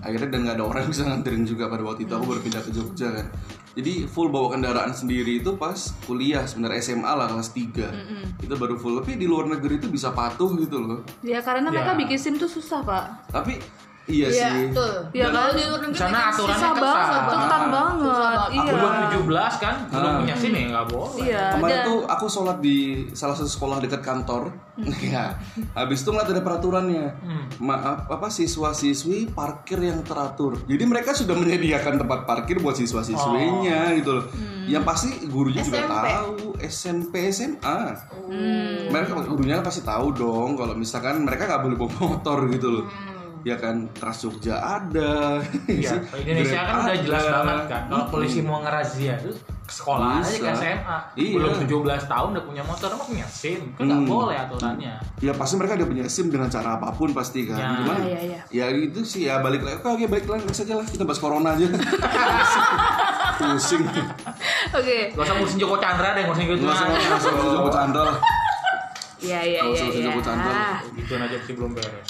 A: akhirnya dan nggak ada orang yang bisa nganterin juga pada waktu itu aku baru pindah ke Jogja kan jadi full bawa kendaraan sendiri itu pas kuliah sebenarnya SMA lah kelas 3 itu baru full tapi di luar negeri itu bisa patuh gitu loh
C: Ya karena mereka
D: Ya.
C: bikin SIM tuh susah, Pak.
A: tapi iya
B: Iya,
A: sih
B: betul.
C: Iya
B: Dan
C: kan?
B: kalau di luar negeri
D: Sana
B: kan
D: aturannya
C: Susah
D: ketat.
C: banget, ketat
A: Ah.
C: banget. Iya.
D: Belum 17 kan, belum punya SIM ya nggak boleh.
C: Iya.
A: Kemarin
C: dan-
A: tuh aku sholat di salah satu sekolah dekat kantor. ya. Habis itu ngeliat ada peraturannya.
D: Hmm.
A: Maaf, apa siswa-siswi parkir yang teratur. Jadi mereka sudah menyediakan tempat parkir buat
D: Oh.
A: siswa-siswinya gitu loh. Yang pasti gurunya juga
B: SMP.
A: tahu SMP SMA.
B: Oh. Hmm.
A: Mereka gurunya kan pasti tahu dong kalau misalkan mereka nggak boleh bawa motor gitu loh. Ya kan, Trans Jogja ada.
D: Iya,
A: sih,
D: Indonesia kan
A: Grab
D: udah jelas
A: ada.
D: banget kan. Kalau polisi mau ngerazia itu ke sekolah
A: Iya.
D: aja
A: Bisa.
D: ke SMA.
A: Iya.
D: Belum 17 tahun udah punya motor, emang punya SIM. Kan nggak
A: Hmm.
D: boleh aturannya.
A: ya pasti mereka ada punya SIM dengan cara apapun pasti kan
D: Ya.
A: cuman
C: Ya, ya,
A: ya itu sih ya balik lagi oke oke, balik lagi saja lah kita bahas corona aja pusing
C: Oke.
D: Gak usah ngurusin Joko Chandra deh, ngurusin gitu.
A: nggak usah nggak usah nggak usah Joko Chandra lah
C: Iya, iya, iya.
A: Nggak usah usah
C: iya.
A: Joko Chandra lah.
D: Gitu aja sih belum beres.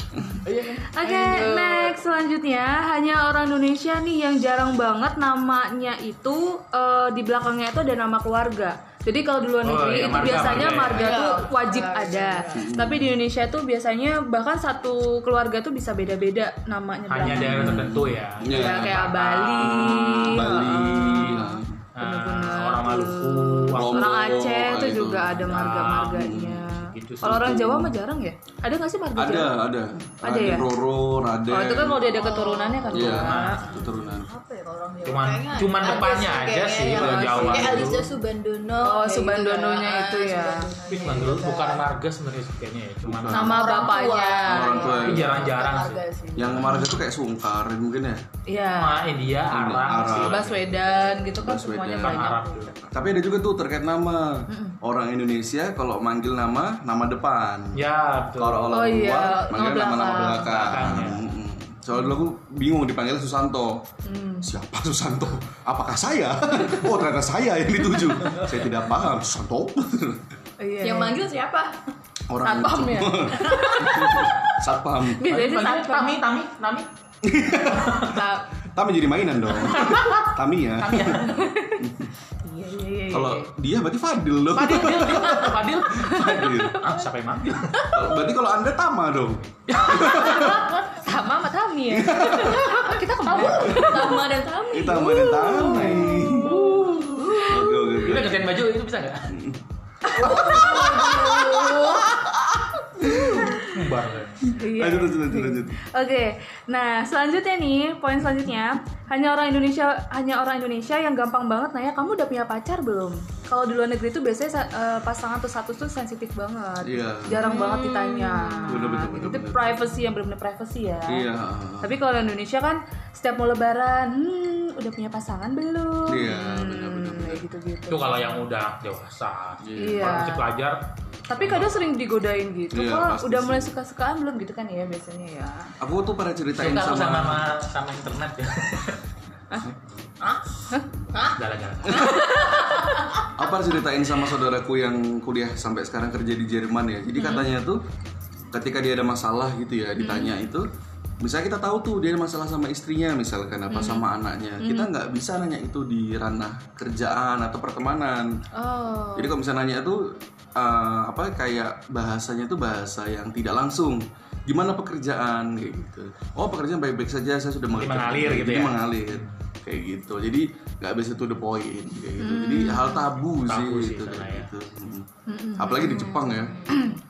C: Oke, next selanjutnya hanya orang Indonesia nih yang jarang banget namanya itu eh, di belakangnya itu ada nama keluarga. Jadi kalau di luar
D: Oh,
C: negeri
D: iya,
C: itu
D: marga,
C: biasanya marga
D: marga
B: ya.
C: tuh
B: Iya,
C: wajib
B: marga,
C: ada. Tapi di Indonesia tuh biasanya bahkan satu keluarga tuh bisa beda-beda namanya
D: Hanya
C: belakang.
D: daerah tertentu ya.
A: Ya,
C: Ya, kayak
D: Batam,
C: Bali,
A: Bali ya.
D: Nah, orang Maluku,
C: eh,
A: Lombok,
C: orang Aceh
A: kayak
C: tuh
A: gitu.
C: juga ada marga-marganya.
D: gitu sih.
C: Kalau orang Jawa mah jarang ya? Ada nggak sih marga
A: ada
C: Jawa?
A: ada
C: Ada
A: Raden
C: ya?
A: Roro Raden
C: Oh, itu kan kalau dia ada keturunannya kan.
A: Iya,
C: Pak.
A: keturunan
B: apa ya kalau orang Jawa?
D: Cuman-
B: Kayaknya
D: cuman
B: ada
D: depannya aja
B: kayaknya
D: sih
B: yang
D: kalau Jawa
B: Kayak
D: dulu.
B: Alisnya Subandono.
C: Oh,
B: kayak gitu
C: Subandononya
B: kan.
C: itu ya.
B: Subandononya
D: Tapi cuman dulu bukan marga sebenarnya sih kayaknya ya. Cuman
C: Nama
B: kan. Orang
C: bapaknya.
B: tua.
A: Orang tua.
D: Tapi jarang-jarang
B: Bukan
D: sih.
B: marga sih.
A: yang marga tuh kayak sungkarin mungkin ya
C: Iya.
D: Sama India, Arab,
A: Arab.
D: pasti ada.
C: Baswedan gitu kan
A: Baswedan.
C: semuanya
D: Bukan
C: banyak.
D: Arab dulu.
A: tapi ada juga tuh terkait nama orang Indonesia kalau manggil nama nama depan
D: Ya, betul. ya.
A: Kalau orang
C: Oh
A: luar,
C: iya,
A: manggil
C: nama
A: nama-nama
C: belakang.
A: belakang.
D: Belakangnya.
A: Mm-mm. Soalnya dulu aku bingung dipanggil Susanto.
C: Hmm.
A: Siapa Susanto? Apakah saya? oh ternyata saya yang dituju. saya tidak paham Susanto.
C: Iya.
B: Yang manggil siapa?
A: Orang
C: Satpam ya?
A: Satpam.
C: biasanya sih
D: Panggil
C: satpam.
D: Tami, Tami, Nami.
C: Sa-
A: Tami jadi mainan dong. Tami ya.
C: Iya iya iya. iya.
A: Kalau dia berarti Fadil dong.
D: Fadil, Fadil, Fadil.
A: Fadil.
D: Ah, siapa yang manggil?
A: Kalau- Berarti kalau Anda Tama dong.
C: sama sama Tami ya. Kita kembali.
B: Tama dan Tami.
A: Kita Tama
C: Uh.
A: dan Tami. Oke oke oke.
D: Udah gantian baju itu bisa nggak? Umbar.
C: Iya.
A: Lanjut lanjut lanjut lanjut.
C: Oke, nah selanjutnya nih poin selanjutnya hanya orang Indonesia hanya orang Indonesia yang gampang banget nanya kamu udah punya pacar belum? Kalau di luar negeri tuh biasanya sa- eh, pasangan tuh satu tuh sensitif banget,
A: Iya.
C: jarang banget ditanya.
A: Bener, bener, bener,
C: Itu
A: bener.
C: privacy yang benar-benar privacy ya.
A: Iya.
C: Tapi kalau di Indonesia kan setiap mau lebaran, hmm, udah punya pasangan belum?
A: Iya,
C: Hmm,
A: benar-benar, benar.
C: kayak gitu-gitu.
D: Itu kalau yang udah dewasa.
C: Iya.
D: Kalau masih pelajar,
C: Tapi kadang sering digodain gitu.
A: Iya,
C: Kok
A: pasti
C: udah
A: sih.
C: mulai suka-sukaan belum gitu kan ya biasanya ya.
A: Aku tuh pernah ceritain
D: suka aku sama
A: sama
D: sama, sama internet ya.
B: Hah?
D: Jalan-jalan.
A: apa ceritain sama saudaraku yang kuliah sampai sekarang kerja di Jerman ya jadi katanya tuh ketika dia ada masalah gitu ya ditanya itu misalnya kita tahu tuh dia ada masalah sama istrinya misalkan apa sama anaknya kita nggak bisa nanya itu di ranah kerjaan atau pertemanan
C: Oh.
A: jadi kalau misalnya nanya tuh eh, apa kayak bahasanya tuh bahasa yang tidak langsung. Gimana pekerjaan kayak gitu. Oh, pekerjaan baik-baik saja, saya sudah mengalir.
D: mengalir gitu
A: Jadi
D: ya?
A: mengalir kayak gitu. Jadi nggak bisa to the point kayak gitu. Jadi hal tabu,
D: Tabu
A: sih,
D: sih
A: itu kayak
D: sana ya.
A: gitu. Mm. Apalagi di Jepang ya.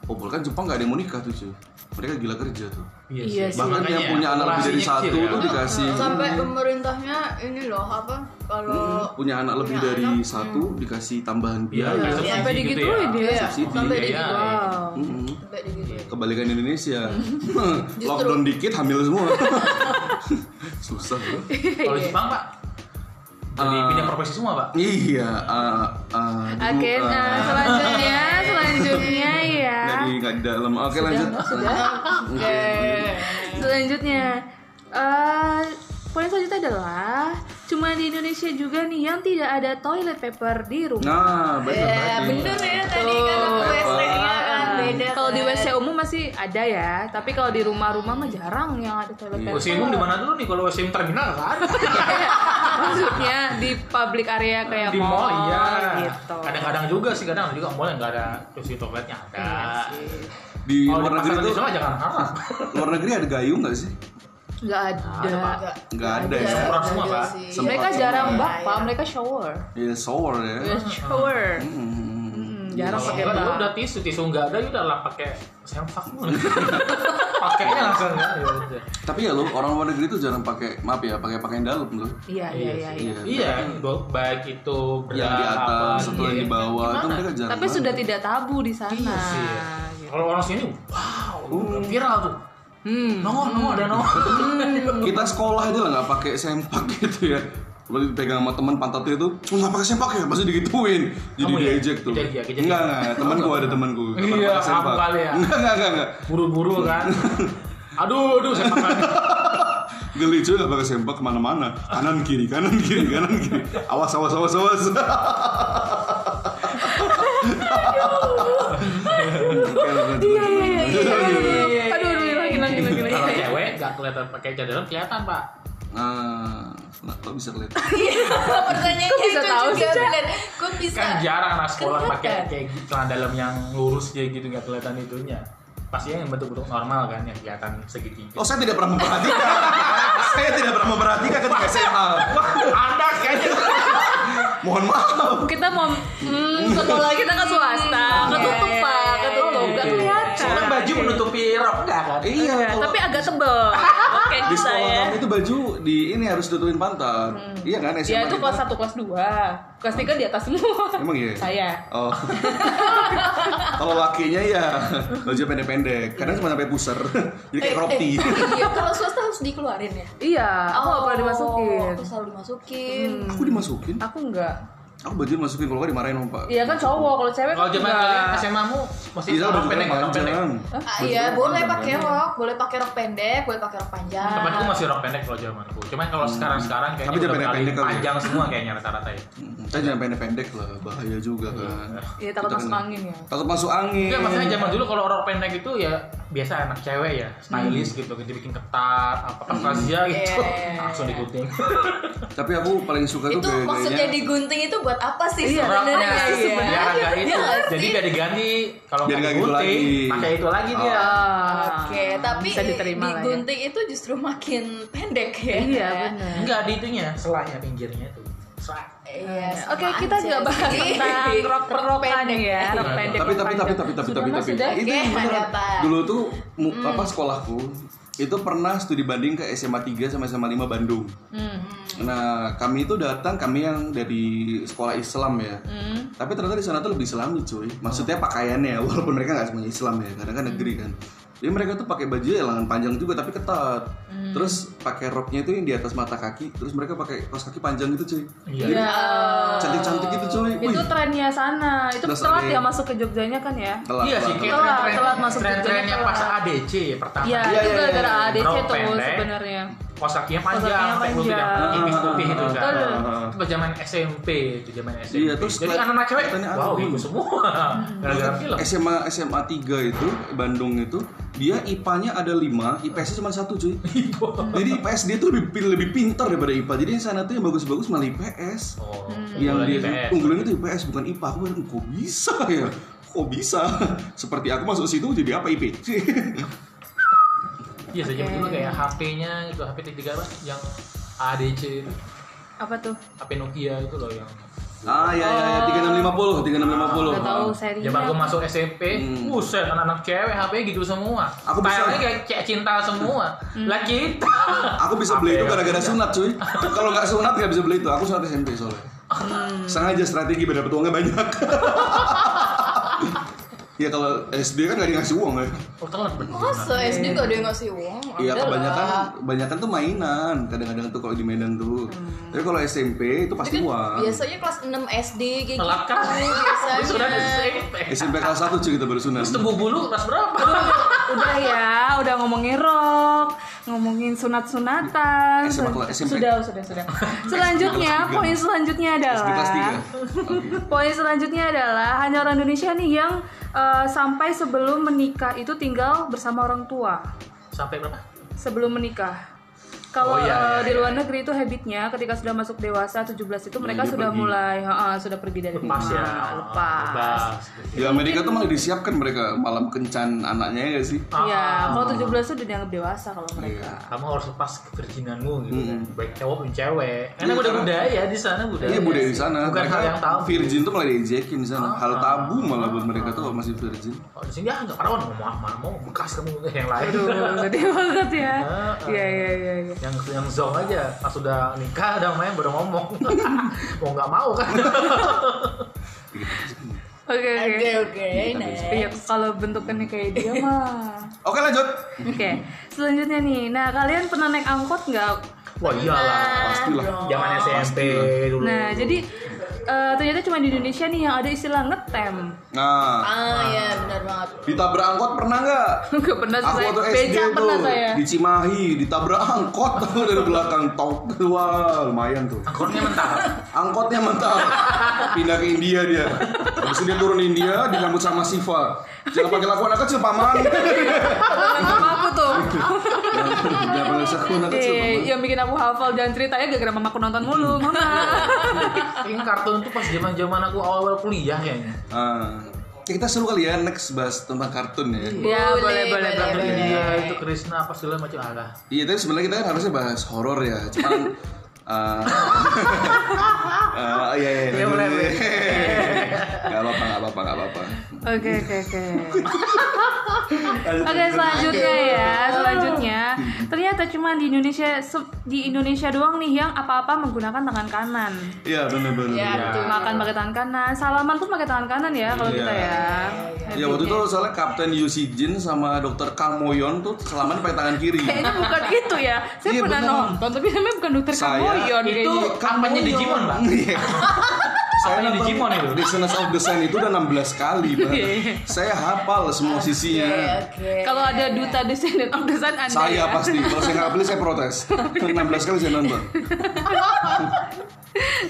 A: Oh, kan Jepang nggak ada yang mau nikah tuh, cuy. Mereka gila kerja tuh.
C: Iya sih.
A: Bahkan yang punya anak lebih dari
D: populasinya
A: satu
D: kecil ya.
A: tuh dikasih
B: sampai pemerintahnya ini loh apa kalau
A: Hmm, punya anak lebih
B: Punya
A: dari
B: anak,
A: satu dikasih tambahan
D: Iya,
A: biaya.
D: kayak subsidi
C: Sampai
D: gitu
C: digituin
D: ya.
C: dia.
A: Subsidi.
B: sampai
D: Iya,
B: di
D: iya.
C: Wow.
A: Mm-mm.
B: sampai di
C: Iya.
B: gitu
A: kebalikan Indonesia lockdown dikit hamil semua susah loh
D: Kalau di Jepang pak, jadi
A: Eh,
D: pindah profesi semua pak.
A: iya eh, eh, dulu,
C: Oke,
A: eh,
C: nah selanjutnya, selanjutnya ya.
A: nggak di nggak di dalam oke lanjut
C: Selanjutnya, eh poin selanjutnya adalah cuma di Indonesia juga nih yang tidak ada toilet paper di rumah. Nah,
A: nah benar
C: Iya,
B: ya
A: tadi.
B: bener ya tadi kan
D: Nah,
B: aku WC nya kan beda
C: Kalau di
B: kan.
C: WC umum masih ada ya, tapi kalau di rumah-rumah mah jarang yang ada toilet paper.
D: WC umum di mana dulu nih? Kalau WC umum terminal nggak ada.
C: Maksudnya di public area kayak
D: di mall iya.
C: gitu.
D: Kadang-kadang juga sih, kadang juga mall yang nggak ada kursi toiletnya ada.
C: Iya
A: di
D: Kalau di
A: luar negeri
D: pasar
A: itu
D: itu aja kan haram.
A: luar negeri ada gayung nggak sih
C: Nggak ada.
B: Enggak.
A: nggak ada ya
D: Semprot semua, Pak.
B: sih.
A: Semprot
C: Mereka
A: semua.
C: jarang
B: Iya,
C: bapak, mereka shower.
A: ya shower ya
C: Iya. Shower.
A: Mm-mm.
C: Hmm, jarang
D: Kalau
C: pakai
D: nggak, dulu
C: bak.
D: udah tisu, tisu nggak ada, udah lah pakai sempak mulu. Pakainya langsung ya. ya udah.
A: tapi ya lo orang luar negeri itu jarang pakai maaf ya pakai pakaian dalam lo
C: Iya, iya, iya. iya.
D: Iya, baik itu iya.
A: yang di
D: berat,
A: atas
D: apa,
A: atau yang di bawah itu kan mereka jarang
C: Iya. Tapi
A: banget.
C: sudah tidak tabu di sana.
D: Iya sih.
C: Nah, gitu.
D: Kalau orang sini, wow, udah viral tuh.
C: Hmm.
D: Nongol, nongol, ada nongol.
A: kita sekolah aja lah nggak pakai sempak gitu ya lo dipegang sama teman pantatnya itu cuma nggak pakai sempak ya pasti digituin jadi
D: Kamu ya?
A: diejek tuh
D: Kejadian, kejadian.
A: enggak enggak teman gua ada teman gua nggak
D: Iya,
A: pakai sempak.
D: kamu kali ya.
A: enggak enggak enggak enggak
D: Buru-buru kan. Aduh, aduh, saya makan.
A: geli cuy nggak pakai sempak kemana-mana kanan kiri kanan kiri kanan kiri awas awas awas awas Oke, lanjut,
C: Iya,
A: lanjut,
C: iya, iya,
A: lanjut,
C: iya.
A: lanjut, lanjut.
C: Aduh, aduh, aduh, lagi, lagi, lagi,
D: Kalau
C: lagi.
D: cewek nggak kelihatan pakai cadar kelihatan pak.
A: Nah, nah, kok bisa kelihatan?
B: Pertanyaannya
C: Kok bisa
B: itu
C: tahu sih,
B: juga
C: Cak?
B: bener. Kok bisa?
D: Kan jarang anak sekolah pakai
B: Kelihatan.
D: kayak gitu, celana dalam yang lurus kayak gitu nggak kelihatan itunya. Pastinya yang bentuk-bentuk normal kan yang kelihatan segitiga.
A: Oh, saya tidak pernah memperhatikan. saya tidak pernah memperhatikan ketika SMA. Wah,
D: Anda kayaknya
A: mohon maaf.
C: Kita mau hmm, sekolah kita kan swasta, ketutup pak, ketutup, nggak
D: Iya. Soalnya
C: kelihatan.
D: baju menutupi rok nggak kan?
A: Iya, kalau-
C: Tapi agak tebel. Oke,
A: di
C: bisa
A: sekolah
C: ya.
A: kami itu baju di ini harus tutupin pantat. Iya kan SMA?
C: Ya itu
A: kita?
C: kelas 1, kelas 2 Kelas 3 di atas semua
A: Emang iya?
C: Saya
A: Oh. kalau lakinya ya baju pendek-pendek, kadang cuma sampai pusar. Jadi
C: Eh,
A: kayak crop tee.
B: Iya, kalau swasta harus dikeluarin ya. Oh,
C: Iya, aku nggak pernah dimasukin Hmm.
B: Aku selalu dimasukin.
A: Aku dimasukin.
C: Aku nggak
A: Aku baju dimasukin kalau nggak dimarahin sama Pak.
C: Iya kan cowok, kalau cewek
D: Kalau
C: kan
D: zaman
C: nggak.
D: kalian SMA mu masih
A: Iya,
D: rok
A: baju
D: pendek,
A: pendek
D: rok pendek.
A: panjang. Hmm.
B: Ah, iya, boleh pakai rok, boleh pakai rok pendek, boleh pakai rok panjang.
D: Temanku masih rok pendek kalau zamanku. Cuman kalau sekarang-sekarang
A: Hmm. Tapi jangan
D: kayaknya udah berkali
A: pendek-pendek kali ya.
D: panjang semua kayaknya rata-rata ya.
A: Hmm, Kita jangan pendek-pendek lah, bahaya juga kan.
C: Iya takut
A: Kita
C: masuk
A: kan-
C: angin ya
A: Takut masuk angin.
D: Enggak, maksudnya zaman dulu kalau rok pendek itu ya biasa anak cewek ya,
A: Hmm.
D: stylish gitu, dibikin ketat, apa kertasnya gitu.
B: Iya, iya, iya.
D: Langsung digunting.
A: Tapi aku paling suka tuh
B: itu
A: gaya
B: maksudnya digunting itu buat apa sih
C: Iya,
B: sebenarnya?
D: Roknya
B: sih
D: biar agak itu.
B: Iya nggak
D: Jadi
B: sih?
D: biar diganti kalau
A: Biar
D: nggak
A: nggak gitu
D: digunting,
A: lagi. Oh.
D: pakai itu lagi dia.
B: Oke, tapi
C: Ah, Bisa diterima lah ya.
B: digunting itu justru makin pendek ya.
C: Iya benar.
D: Enggak di itunya, selahnya pinggirnya itu. Selah.
B: Iya. sama
C: Oke kita
B: aja
C: juga bahas
B: sih.
C: tentang rok rokan ya, rok
D: Iya.
C: pendek. rok
A: tapi tapi tapi
C: panjang.
A: tapi tapi
C: Sudah,
A: tapi
C: Mas,
A: tapi
C: sudah?
A: itu
B: Oke, Hmm.
A: beneran.
B: ada apa?
A: dulu tuh mu- apa sekolahku itu pernah studi banding ke SMA 3 sama SMA 5 Bandung.
B: Hmm.
C: Hmm.
A: Nah, kami itu datang kami yang dari sekolah Islam ya.
B: Hmm.
A: Tapi ternyata di sana tuh lebih Islami, cuy. Maksudnya pakaiannya walaupun mereka nggak semuanya Islam ya, karena kan negeri kan. Jadi mereka tuh pakai baju ya lengan panjang juga tapi ketat.
B: Hmm.
A: Terus pakai roknya itu yang di atas mata kaki, terus mereka pakai kaos kaki panjang gitu, cuy.
D: Iya.
A: Jadi
C: Ya,
B: Oh.
A: cantik-cantik gitu, cuy. Wih,
C: itu trennya sana. Itu
A: Terus
C: telat
A: ada-
C: ya masuk ke Jogjanya kan ya?
A: telat,
D: Iya sih,
A: telat,
D: kayak
A: telat.
C: Telat,
D: tren-tren-
C: telat masuk
D: tren-trennya
C: pintunya
D: pas
C: telat.
D: ADC ya, pertama.
C: Iya, itu
A: Iya, iya, iya.
C: gara-gara ADC
D: Rok
C: tuh
D: pendek.
C: sebenarnya.
D: kaos kakinya panjang,
C: kakinya
D: sampai lutut yang
C: panjang. Ah.
D: pipih-pipih itu kan.
C: Betul.
D: Itu pas zaman SMP, itu zaman SMP.
A: Iya, terus
D: Jadi
A: keliat-
D: anak-anak cewek,
A: kelihatannya
D: wow,
A: agung.
D: itu semua.
C: Hmm.
D: Gara-gara film.
A: SMA SMA 3 itu Bandung itu dia IPA-nya ada 5, IPS-nya cuma satu cuy. Jadi IPS dia tuh lebih lebih pintar daripada IPA. Jadi yang sana tuh yang bagus-bagus malah IPS.
D: Oh,
A: yang
D: bola
A: dia
D: IPS.
A: unggulan itu IPS bukan IPA. Aku bilang kok bisa ya? Kok bisa? Seperti aku masuk situ jadi apa IP?
D: Iya, sejak
C: Oke.
D: dulu kayak HP-nya itu HP 33 apa yang ADC itu,
C: Apa tuh?
D: HP Nokia itu loh yang
A: ah ya ya
D: Oh.
A: ya 3650, 3650.
C: Nggak tahu saya
D: Ya aku masuk SMP,
A: Hmm.
D: buset anak-anak cewek HP gitu semua.
A: Aku bisa-
D: Stylenya kayak kayak cinta semua.
C: Hmm.
D: Lah kita.
A: Aku bisa beli itu gara-gara sunat cuy. Kalau nggak sunat nggak bisa beli itu. Aku sunat SMP soalnya. Sengaja strategi biar dapet uangnya banyak. ya kalau SD kan nggak dikasih uang ya.
D: Oh, telat bener.
B: Masa SD gak ada yang ngasih uang?
A: Iya
B: Ada
A: kebanyakan
B: lah.
A: kebanyakan tuh mainan. Kadang-kadang tuh kalau di Medan tuh. Tapi kalau SMP itu
B: Itu
A: pasti
B: kan
A: uang.
B: Biasanya kelas 6 SD kayak gitu
D: Telat kan?
B: biasanya.
D: Sudah di SMP.
A: SMP kelas 1 cuy kita baru sunat.
D: Terus tumbuh bulu kelas berapa?
C: Udah ya, udah ngomongin rock, ngomongin sunat-sunatan.
A: SMA kelas- SMP.
C: Sudah, sudah, sudah. Selanjutnya,
A: Kelas tiga.
C: poin selanjutnya adalah
A: SD kelas 3.
C: Poin selanjutnya adalah hanya orang Indonesia nih yang eh, sampai sebelum menikah itu tinggal bersama orang tua
D: Sampai berapa?
C: sebelum menikah. Kalau
D: Oh, iya,
C: eh, di luar negeri itu habitnya ketika sudah masuk dewasa 17 itu mereka
A: dia
C: sudah
A: pergi.
C: mulai ha, ha, sudah pergi dari rumah,
D: Lepas ya.
C: lepas.
D: Lepas.
A: Di Amerika tuh malah disiapkan mereka malam kencan anaknya ya nggak sih.
C: Iya, kalau 17 itu udah dianggap dewasa kalau
D: Iya.
C: mereka.
D: Kamu harus lepas kevirginanmu gitu kan.
A: Mm-mm.
D: Baik cowok maupun cewek. Karena
A: Hmm. Iya,
D: udah
A: karena-
D: budaya di sana budaya.
A: Iya budaya di sana.
D: Bukan
A: Mereka
D: hal yang tabu. Ah.
A: Virgin tuh malah diejekin di sana. Hal tabu malah buat mereka tuh masih virgin.
D: Kalau di sini ah nggak perawan mau mau- mau mau bekas kamu yang lain.
C: Aduh, sedih banget ya.
D: Ah, ah.
C: Iya, iya, iya, iya.
D: yang yang zonk aja pas sudah nikah udah main baru ngomong mau nggak mau kan
C: Oke, oke.
B: Oke oke. Nah. next.
A: ya.
C: Iya, kalau bentukannya kayak dia mah.
A: Oke lanjut.
C: Oke, selanjutnya nih. Nah, kalian pernah naik angkot nggak?
D: wah iyalah
A: Pastilah.
D: zaman SMP dulu
C: Nah, jadi eh, ternyata cuma di Indonesia nih yang ada istilah ngetem.
A: Nah,
B: Ah iya benar banget.
A: ditabrak angkot pernah nggak?
C: Nggak pernah
A: Aku
C: saya.
A: waktu SD
C: Becak
A: tuh
C: pernah saya.
A: di Cimahi ditabrak angkot tuh dari belakang tok wah lumayan tuh.
D: angkotnya mentah
A: Angkotnya mental pindah ke India dia. Habis itu dia turun India disambut sama Siva. Jangan pakai laku anak kecil paman.
C: Pernah sama aku tuh.
A: Jangan pakai laku anak kecil
D: Iya,
C: Eh,
A: paman.
C: yang bikin aku hafal dan ceritanya gara-gara mamaku nonton mulu, mama.
D: ini kartun tuh pas zaman zaman aku awal awal kuliah kayaknya
A: Ah. kita seru kali ya next bahas tentang kartun ya.
C: ya, boleh, boleh, boleh.
D: Kartun India Iya, itu Krishna apa segala macam Ah, ada
A: Iya, tapi sebenarnya kita kan harusnya bahas horor ya. Cuman eh eh, iya iya.
D: Iya, boleh, boleh.
A: Gak apa-apa, gak apa-apa, gak apa-apa.
C: Oke, oke, oke. Oke, selanjutnya ya, selanjutnya. Ternyata cuma di Indonesia se- di Indonesia doang nih yang apa-apa menggunakan tangan kanan.
A: Iya, benar benar.
B: Ya,
A: benar.
B: betul.
C: Makan pakai tangan kanan, salaman pun pakai tangan kanan ya kalau kita
A: Iya.
C: ya.
A: Ya waktu itu soalnya Kapten Yusi Jin sama Dokter Kang Moyon tuh selaman pakai tangan kiri.
C: Kayaknya bukan itu ya. Saya
A: Iya,
C: pernah
A: beneran.
C: nonton, tapi namanya bukan dokter
A: Saya-
C: Kamoyon
D: itu
C: kayaknya.
D: kampanye Digimon lah
A: Iya.
D: Apanya
A: nonton
D: Digimon itu?
A: Dissonance of the Sand itu udah 16 kali, Bang.
C: Iya, iya.
A: Saya hafal semua sisinya.
B: Oke oke.
C: Kalau ada duta Descendant of the Sun Anda ya.
A: Saya pasti, kalau saya nggak beli saya protes 16 kali saya nonton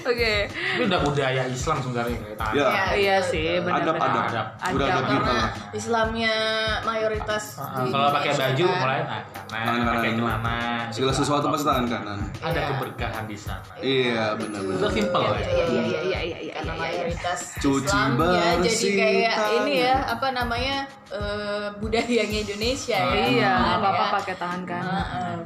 C: Oke.
D: itu udah budaya Islam sebenarnya Nah, kayak tangan
A: Ya,
B: Ya,
C: Iya sih,
A: adab,
C: benar-benar.
A: adab
D: Adab.
A: Udah
C: Adab.
A: adab kita
B: karena
A: lah
B: Islamnya mayoritas
D: Ah,
B: di
D: kalau pakai baju
B: Indonesia, kan.
D: mulai
C: Nah,
D: tangan
A: Tangan
D: kanan pakai
A: kanan.
D: celana
A: Segala sesuatu pasti tangan kanan
D: ada
B: Iya.
D: keberkahan di sana
A: Iya benar-benar
D: itu simple
B: Iya,
D: ya
B: iya, iya, iya, iya.
C: Iya, iya, iya,
B: karena
C: iya, iya.
B: mayoritas
A: Cuci
B: Islam ya jadi
A: bersih
B: kayak
A: tangan.
B: ini ya apa namanya eh, budayanya Indonesia ya
C: Iya,
B: Kan,
C: apa-apa
B: ya.
C: pakai tangan kan. kanan.
B: Heeh.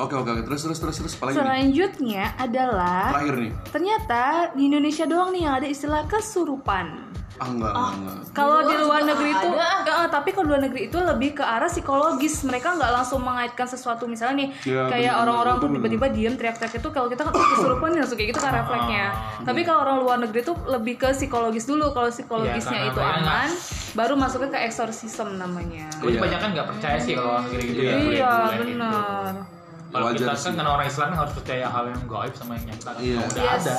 A: Oke oke oke terus terus terus terus apalagi nih?
C: Selanjutnya adalah
A: Terakhir nih
C: ternyata di Indonesia doang nih yang ada istilah kesurupan.
A: Ah enggak enggak, enggak
C: Kalau di
B: Di luar
C: luar
B: juga
C: negeri itu,
B: ada.
C: eh, eh, tapi kalau di luar negeri itu lebih ke arah psikologis. Mereka nggak langsung mengaitkan sesuatu misalnya nih, kayak
A: Ya, bener-bener,
C: orang-orang tuh
A: bener-bener.
C: tiba-tiba diem teriak-teriak itu. Kalau kita kan kesurupan langsung kayak gitu kan refleksnya. Tapi kalau orang luar negeri itu lebih ke psikologis dulu. Kalau psikologisnya
D: karena
C: itu
D: mereka
C: aman, baru masuknya ke exorcism namanya.
D: Gue kebanyakan nggak percaya sih kalau orang negeri gitu ya.
C: Iya,
D: bule-bule gitu.
C: benar.
D: Kalau
A: Wajar
D: kita
A: sih.
D: kan karena orang Islam harus percaya hal yang gaib sama yang nyata kan
A: Iya.
D: udah ada.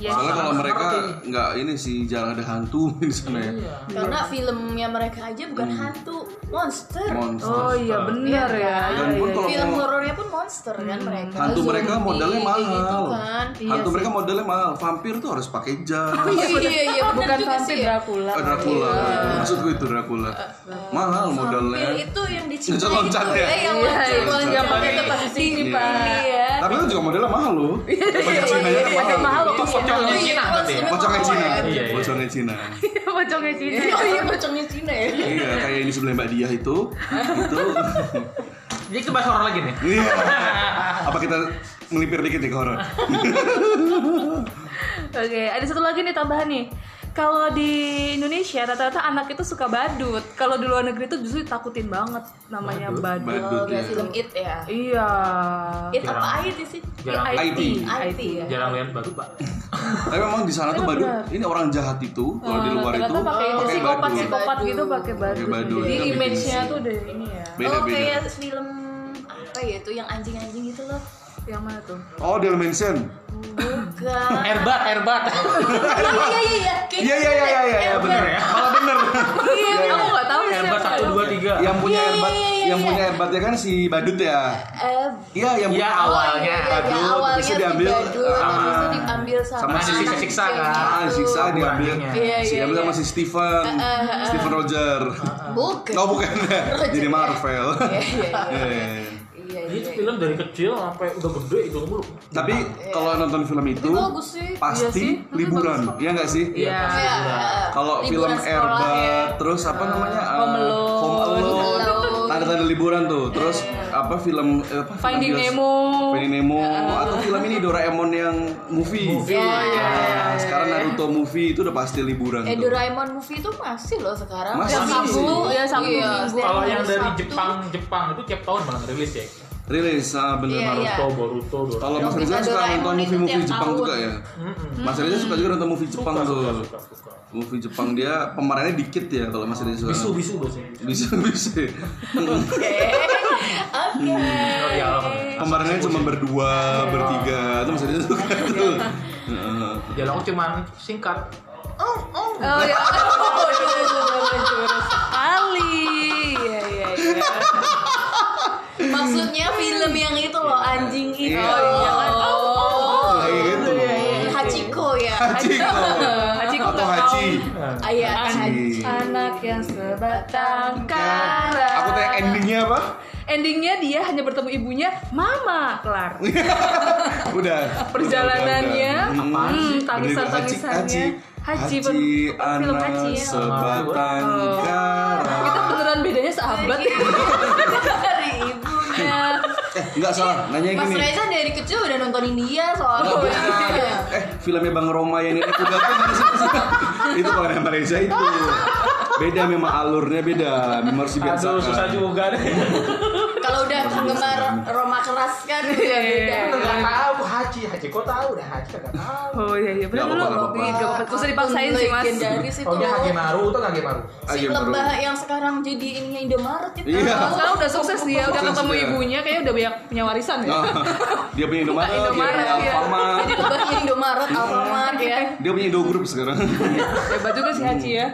C: Yes.
A: Soalnya kalau
D: Sama
A: mereka
D: seperti.
A: nggak ini sih jarang ada hantu di sana ya.
D: Iya.
B: Karena filmnya mereka aja bukan
A: Hmm.
B: hantu, monster.
A: Monster.
C: Oh iya benar ya.
B: Iya,
A: Dan pun kalau
B: Film
A: mau-
B: horornya pun monster kan mereka.
A: Hmm. Hantu
B: Zombie,
A: mereka modalnya mahal.
B: Gitu kan.
A: Hantu mereka modelnya mahal. Vampir tuh harus pakai jas.
B: Iya iya iya benar
C: Bukan
B: juga
C: vampir
B: sih. Iya.
C: Dracula.
A: Ah, Dracula. Maksud gue itu Dracula. Mahal modalnya.
B: Vampir Iya, itu kan. yang dicintai
A: Yang loncat
B: gitu Eh,
A: ya?
B: yang
C: Iya,
B: loncat,
C: yang
B: loncat,
D: loncat.
B: itu pas di sini
A: Iya.
B: pak. Iya.
A: Tapi itu juga modelnya mahal loh. Pakai Cina ya
C: Pakai iya. mahal
A: mahal.
C: loh.
D: Pocongnya
B: Iya,
D: Cina
B: iya,
D: berarti ya.
B: iya.
A: Pocongnya Cina.
D: Iya, iya.
A: Pocongnya Cina.
C: Pocongnya Cina.
B: Iya, iya, pocongnya Cina ya.
A: Iya, kayak yang di sebelah Mbak Diah itu. Gitu. Itu.
D: Jadi kita bahas horor lagi nih.
A: Iya. Apa kita melipir dikit nih ke horor?
C: Oke, ada satu lagi nih tambahan nih. Kalau di Indonesia rata-rata anak itu suka badut. Kalau di luar negeri itu justru ditakutin banget namanya badut.
B: Oh,
A: Badut ya.
B: kayak film It ya.
C: Iya.
B: It apa
D: Jarang.
B: IT sih?
D: Jarang
A: IT.
B: IT ya.
D: jarang lihat badut, Pak.
A: Tapi memang di sana tuh badut, ini orang jahat itu kalau di luar itu
C: Rata-rata pakai itu
A: pakai
C: psikopat
A: badut.
C: psikopat gitu pakai badut.
A: badut,
C: Jadi
A: kita bikin
C: image-nya tuh udah ini ya.
B: Oh,
A: Beda-beda.
B: kayak film apa ya itu yang anjing-anjing gitu loh.
C: Yang mana tuh?
A: Oh, Dalmatian.
B: Bukan.
D: Erbat, erbat.
B: Iya iya iya. Kayak
A: Iya iya iya iya iya
B: Elmer.
A: bener ya. Malah bener.
C: Iya, aku nggak tahu sih. Oh,
D: Erbat satu dua tiga.
A: yang punya
B: Iya, iya,
A: erbat,
B: iya, iya,
A: yang
B: iya.
A: punya erbatnya kan si badut ya.
B: Eh,
A: Iya, yang
D: Iya
A: punya
D: awalnya.
B: iya,
A: badut,
B: iya, awalnya
A: terus
B: si
A: diambil
B: badut,
A: sama-
B: habis itu diambil sama,
A: sama si
B: anak
D: siksa-siksa
B: kecil
D: kan.
A: Ah,
B: gitu.
A: siksa diambil.
D: Kurangnya.
B: Iya,
A: Si
B: iya,
A: diambil
B: iya.
A: sama si Stephen, Stephen Roger.
B: uh. Bukan.
A: Oh bukan, jadi Marvel.
B: Iya iya iya.
A: Iya, iya, iya.
B: Iya
D: Jadi
B: iya.
D: itu film dari kecil sampai udah gede itu mulu.
A: Tapi kalau nonton film itu
B: Tapi Iya. bagus sih.
C: Iya sih,
A: pasti
C: tapi bagus
A: liburan,
C: kok.
A: ya nggak sih?
C: Iya.
B: Iya, iya.
A: Kalau
B: Liburan
A: film
B: sekolah iya.
A: Erbat, terus apa namanya? eh,
C: Home Alone.
A: Home Alone.
B: Alone.
A: Tanda-tanda liburan tuh.
B: Iya.
A: Terus apa film eh, apa? film
C: Finding
A: bios-
C: Nemo.
A: Finding Nemo atau film ini Doraemon yang movie.
B: Iya, iya,
A: Nah, sekarang Naruto movie itu udah pasti liburan
B: Eh
A: tuh.
B: Doraemon movie itu masih loh sekarang.
A: Masih
B: Tiap
A: sih.
B: Minggu,
C: Iya, Sabtu,
B: Iya,
C: Minggu.
B: setiap
D: Kalau
B: hari
D: yang dari
B: Sabtu.
D: Jepang, Jepang itu tiap tahun malah rilis ya.
A: Rilis ah, bener
B: Iya,
A: Naruto.
B: iya.
D: Naruto, Boruto, Dora.
A: Kalau Mas
B: Doraemon
A: Reza suka
B: itu
A: nonton
B: tiap
A: movie-movie Jepang
B: tahun.
A: juga ya? Mas Reza suka juga nonton movie Jepang
D: Suka,
A: tuh.
D: suka, suka, suka.
A: Movie Jepang dia pemerannya dikit ya kalau Mas Reza suka.
D: Bisu, bisu biasanya.
A: Bisa bisa.
B: Oke.
D: Oh, iya, apa?
A: Pemerannya cuma berdua, bertiga. Itu Mas Reza suka tuh. Heeh.
D: Dialognya cuma singkat.
C: Oh ya. Oh, jurus, jurus, jurus. Ali. Iya, iya, iya.
B: Maksudnya film yang itu loh anjing itu.
A: Iya. Oh, iya kan?
B: Oh.
A: Kayak gitu.
B: Hachiko ya.
A: Haji.
C: Haji kok
A: Atau
C: nggak
A: Haji.
B: Ayah kan Haji.
A: Haji.
C: Anak yang sebatang kara.
A: Aku tanya endingnya apa?
C: Endingnya dia hanya bertemu ibunya, Mama kelar.
A: Udah.
C: Perjalanannya,
A: Udah, udah, udah.
C: hmm,
A: Hmm,
C: tangisan-tangisannya.
A: Haji, Haji,
C: pen- film
A: anak
C: Haji ya.
A: sebatang
C: Oh.
A: kara.
C: Kita beneran bedanya sahabat.
B: Dari ibunya.
A: Eh, nggak salah. Nanya
B: Mas
A: gini.
B: Reza dari kecil udah nontonin dia soalnya.
A: Oh, iya. eh filmnya Bang Roma yang ini kuda tuh mana sih? itu kalau yang Malaysia itu beda memang alurnya beda memang harus dibiasakan
D: Aduh, susah juga deh.
B: Kalau udah
D: Iya,
B: penggemar Roma keras kan
C: Iya,
B: udah beda.
D: Enggak tahu Haji, Haji kok tahu dah Haji enggak tahu.
C: Oh iya iya benar
A: Nggak
C: dulu.
A: apa-apa, nggak apa-apa.
C: Iya, nggak apa-apa. Nggak usah dipaksain sih mas.
B: Legendaris itu.
D: Oh dia Haji Maru atau Haji Maru?
B: si
A: Haji Maru.
B: lebah yang sekarang jadi ininya Indomaret itu.
A: Iya.
C: Kalau sekarang udah sukses dia, udah
A: Sukses
C: ketemu
A: dia.
C: ibunya, kayaknya udah banyak punya warisan ya.
A: Nah, dia punya Indomaret, dia
C: Indomaret,
A: punya
C: iya.
A: Alfamart,
B: Jadi lebahnya Indomaret, Alfamart
D: Iya,
B: ya.
A: dia punya Indo Group sekarang.
C: Hebat juga sih Haji ya.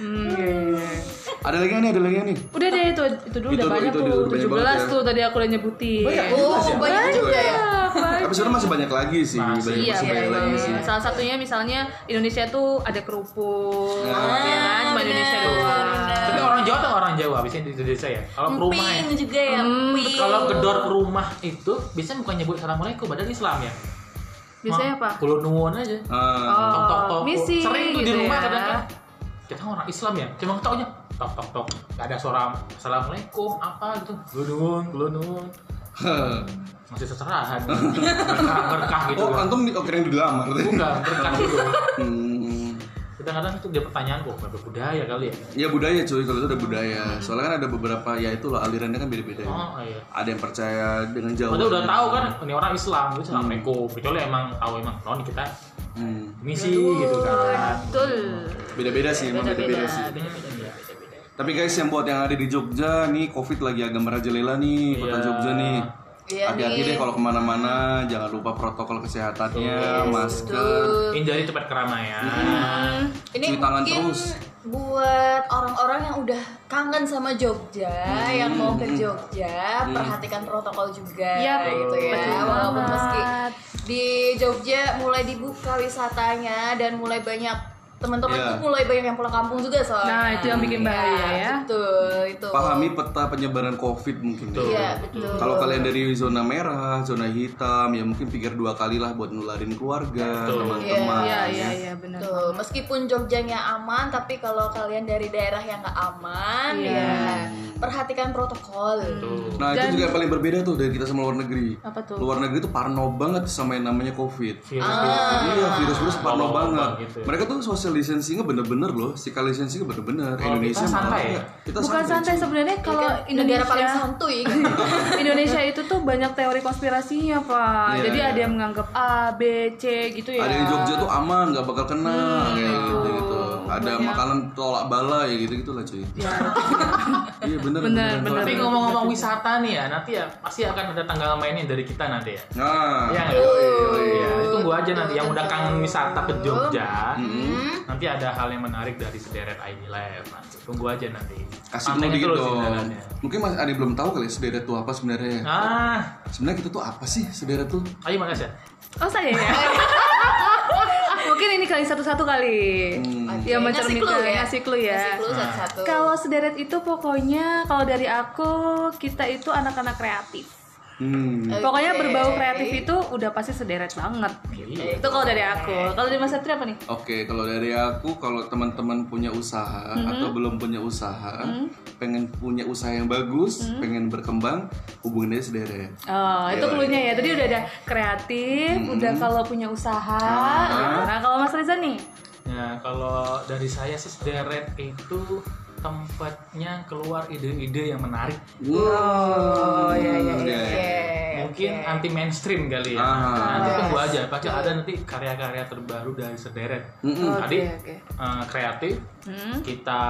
C: Hmm, iya, iya.
A: ada lagi nggak nih, ada lagi nggak nih.
C: Udah deh itu itu dulu
A: Itu
C: udah
A: tuh,
C: banyak
A: itu udah
C: tuh
A: banyak banget
C: 17
A: ya.
C: tuh tadi aku udah nyebutin.
D: Banyak.
B: Oh, banyak
D: Iya,
B: juga ya.
C: Apa?
A: Tapi sebenarnya masih banyak lagi sih,
D: Masih,
A: banyak
C: Iya,
A: masih
C: iya,
A: banyak lagi sih.
C: iya. Salah satunya misalnya Indonesia tuh ada kerupuk,
A: Nah.
C: ya kan? Cuma
B: Bener,
C: Indonesia doang.
B: bener.
D: Tapi orang Jawa atau orang Jawa biasanya di Indonesia ya. Kalau ke rumah ya.
B: Emping juga ya.
C: Hmm,
B: emping.
D: Kalau gedor ke rumah itu biasanya bukan nyebut assalamualaikum padahal Islam ya.
C: Biasanya apa?
D: Kulo nuwun aja.
A: Ah,
D: Tok tok tok.
C: Oh, misi,
D: Sering tuh di
C: gitu
D: rumah
C: ya.
D: kadang kan kita orang Islam ya, cuma taunya tok tok tok. Gak ada suara assalamualaikum apa gitu. Kulo nuwun, kulo nuwun. Masih seserahan. berkah, berkah gitu.
A: oh,
D: loh.
A: antum di, oh, keren dilamar deh.
D: Bukan, berkah gitu.
A: Hmm.
D: Kadang-kadang itu dia pertanyaan kok, kenapa budaya kali ya?
A: Ya budaya cuy, kalau itu ada budaya. Soalnya kan ada beberapa, ya itulah alirannya kan beda-beda. ya.
D: Oh iya.
A: Ada yang percaya dengan Jawa.
D: Padahal udah tahu kan ini orang Islam, gitu assalamualaikum. Kecuali emang tahu emang non kita
A: Hmm.
D: misi gitu kan.
C: Betul.
A: Beda-beda sih, emang beda-beda sih. Tapi guys yang buat yang ada di Jogja nih, covid lagi agak merajalela nih, kota
D: Iya.
A: Jogja nih.
B: Iya
A: hati-hati
B: nih.
A: deh kalau kemana-mana jangan lupa protokol kesehatannya
D: Iya.
B: Yes,
A: masker
B: betul.
D: Hindari tempat keramaian.
B: Ini
A: Cuci tangan
B: mungkin
A: terus.
B: buat orang-orang yang udah kangen sama Jogja,
A: Hmm.
B: yang mau ke Jogja, perhatikan protokol juga
C: Yap,
B: gitu
C: Iya, betul
B: ya. Walaupun
C: banget.
B: meski di Jogja mulai dibuka wisatanya dan mulai banyak teman-teman
A: Iya.
B: tuh mulai banyak yang pulang kampung juga soalnya. Iya,
C: Nah, itu yang bikin bahaya ya.
B: Betul, itu.
A: pahami peta penyebaran covid mungkin
D: Betul.
B: Iya, betul.
A: Kalau kalian dari zona merah, zona hitam, ya mungkin pikir dua kali lah buat nularin keluarga,
D: Betul.
A: teman-teman.
C: Iya, iya, iya, benar.
B: Tuh, meskipun Jogjanya aman, tapi kalau kalian dari daerah yang nggak aman,
C: Iya.
B: ya perhatikan protokol.
D: Tuh.
A: Nah itu
C: Dan-
A: juga yang paling berbeda tuh dari kita sama luar negeri.
C: Apa tuh?
A: Luar negeri tuh parno banget sama yang namanya covid.
D: Virus
C: Ah.
A: Iya virus-virus parno
D: Wabah-wabah
A: banget.
D: gitu ya.
A: Mereka tuh social distancingnya bener-bener loh, physical distancingnya bener-bener.
D: Kalau
A: Indonesia
D: kita
A: malah
D: santai ya?
A: enggak. Kita
C: Bukan santai
A: cuy.
C: sebenarnya kalau
B: Kan
C: Indonesia
B: negara paling santuy kan?
C: Indonesia itu tuh banyak teori konspirasinya, Pak.
A: Iya,
C: Jadi
A: iya.
C: ada yang menganggap A, B, C gitu ya. Hmm.
A: Ada di Jogja tuh aman, nggak bakal kena kayak gitu gitu. Ada makanan tolak bala ya gitu gitulah cuy.
C: Ya.
A: Iya
C: Bener,
A: bener beneran
C: bener.
A: tolak
D: Tapi
A: bala.
D: ngomong-ngomong wisata nih ya, nanti ya pasti akan ada tanggal mainnya dari kita nanti ya.
A: Nah,
D: Iya nggak? Iya, tunggu aja nanti yang udah kangen wisata ke Jogja.
A: Mm-hmm.
D: Nanti ada hal yang menarik dari sederet ID Live. Nanti tunggu aja nanti.
A: kasih tahu
D: Pantengin
A: dikit
D: terus
A: dong.
D: jalannya.
A: Mungkin mas ada yang belum tahu kali ya, sederet tuh apa sebenarnya.
D: Ah,
A: Sebenarnya kita tuh apa sih sederet tuh?
D: ayo makasih. ya.
C: Oh, saya ya. Mungkin ini kali satu-satu kali.
B: Hmm. Iya,
C: Ya mencerminkan ngasih clue ya.
B: Ngasih clue satu-satu.
C: Kalau sederet itu pokoknya kalau dari aku kita itu anak-anak kreatif.
A: Hmm.
B: Oke.
C: Pokoknya berbau kreatif itu udah pasti sederet banget.
D: Iya.
C: Itu kalau dari aku. Kalau dari Mas Satria apa nih?
A: Oke, kalau dari aku kalau teman-teman punya usaha atau belum punya usaha, pengen punya usaha yang bagus, pengen berkembang, hubungin aja sederet.
C: Oh, itu
A: Iya,
C: cluenya ya. Tadi udah ada kreatif,
D: Hmm.
C: udah kalau punya usaha.
D: Ah.
C: gitu. Nah, kalau Mas Reza nih,
D: Nah, kalau dari saya sih sederet itu tempatnya keluar ide-ide yang menarik.
A: Wow. iya iya
D: Mungkin anti mainstream kali ya.
A: Ah.
D: Nanti tunggu aja, pasti ada nanti karya-karya terbaru dari sederet.
C: Oh,
D: Tadi eh, kreatif,
C: Mm-hmm.
D: kita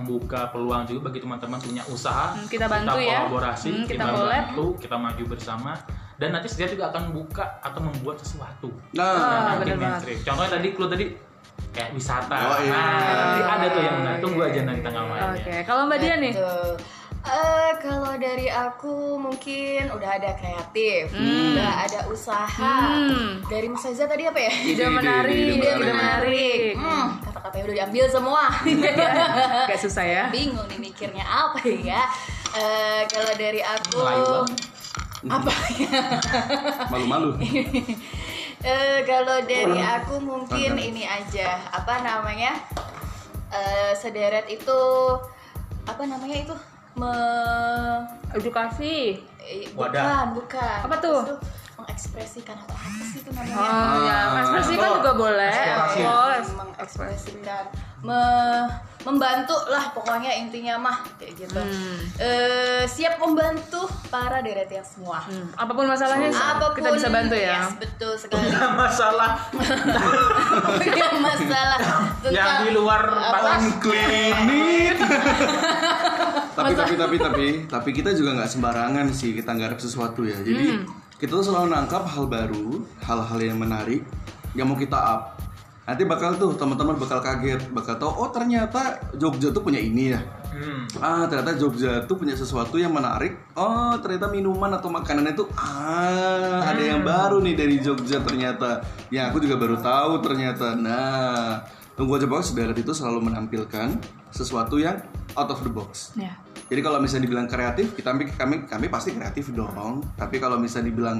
D: membuka peluang juga bagi teman-teman punya usaha.
C: Hmm, kita bantu ya.
D: kolaborasi,
C: Hmm, kita
D: kita,
C: collab.
D: bantu, kita maju bersama. Dan nanti sederet juga akan buka atau membuat sesuatu.
A: Nah,
C: Ah,
D: Nanti
C: bener banget.
D: mainstream. Contohnya tadi clue tadi kayak wisata.
A: Oh, iya.
D: Nah, nanti ada tuh yang menarik. Tunggu aja nanti tanggal mainnya.
C: Oke, kalau Mbak Dia nih,
B: Betul. Eh, kalau dari aku mungkin udah ada kreatif, udah ada usaha.
C: Hmm.
B: Dari Mas Reza tadi apa ya?
A: Ide,
C: udah
A: ide,
C: menarik,
A: ide, ide
C: udah
A: menarik.
C: menarik.
B: Hmm, kata-katanya udah diambil semua.
C: Gak susah ya.
B: Bingung nih mikirnya apa ya? Eh, kalau dari aku
D: Melayu banget.
B: apa ya?
A: malu-malu.
B: Eh, kalau dari aku mungkin ini aja apa namanya Eh, sederet itu apa namanya itu me
C: Edukasi.
B: eh, bukan
D: Wadah.
B: bukan
C: Apa tuh?
B: Terus mengekspresikan atau apa sih itu
C: Oh,
B: namanya
C: ya,
D: Ah.
C: ekspresi kan juga boleh.
D: Eksplorasi.
C: Explore.
B: mengekspresikan me- membantu lah pokoknya intinya mah kayak gitu
C: Hmm.
B: Eh, siap membantu para deret yang semua
C: Hmm, Apapun masalahnya,
B: apapun
C: kita bisa bantu ya.
B: yes, betul sekali
D: masalah
B: punya masalah tentang
D: yang di luar batas
A: klinik. tapi tapi tapi tapi tapi kita juga nggak sembarangan sih kita nggak sesuatu ya. Jadi kita tuh selalu nangkap hal baru, hal-hal yang menarik yang mau kita up. Nanti bakal tuh teman-teman bakal kaget, bakal tahu oh ternyata Jogja tuh punya ini ya.
D: Hmm.
A: Ah ternyata Jogja tuh punya sesuatu yang menarik. Oh ternyata minuman atau makanannya tuh ah ada yang baru nih dari Jogja ternyata. Ya aku juga baru tahu ternyata. Nah tunggu aja bahwa sederet itu selalu menampilkan sesuatu yang out of the box.
C: Ya.
A: Jadi kalau misalnya dibilang kreatif, kita kami kami pasti kreatif dong. Tapi kalau misalnya dibilang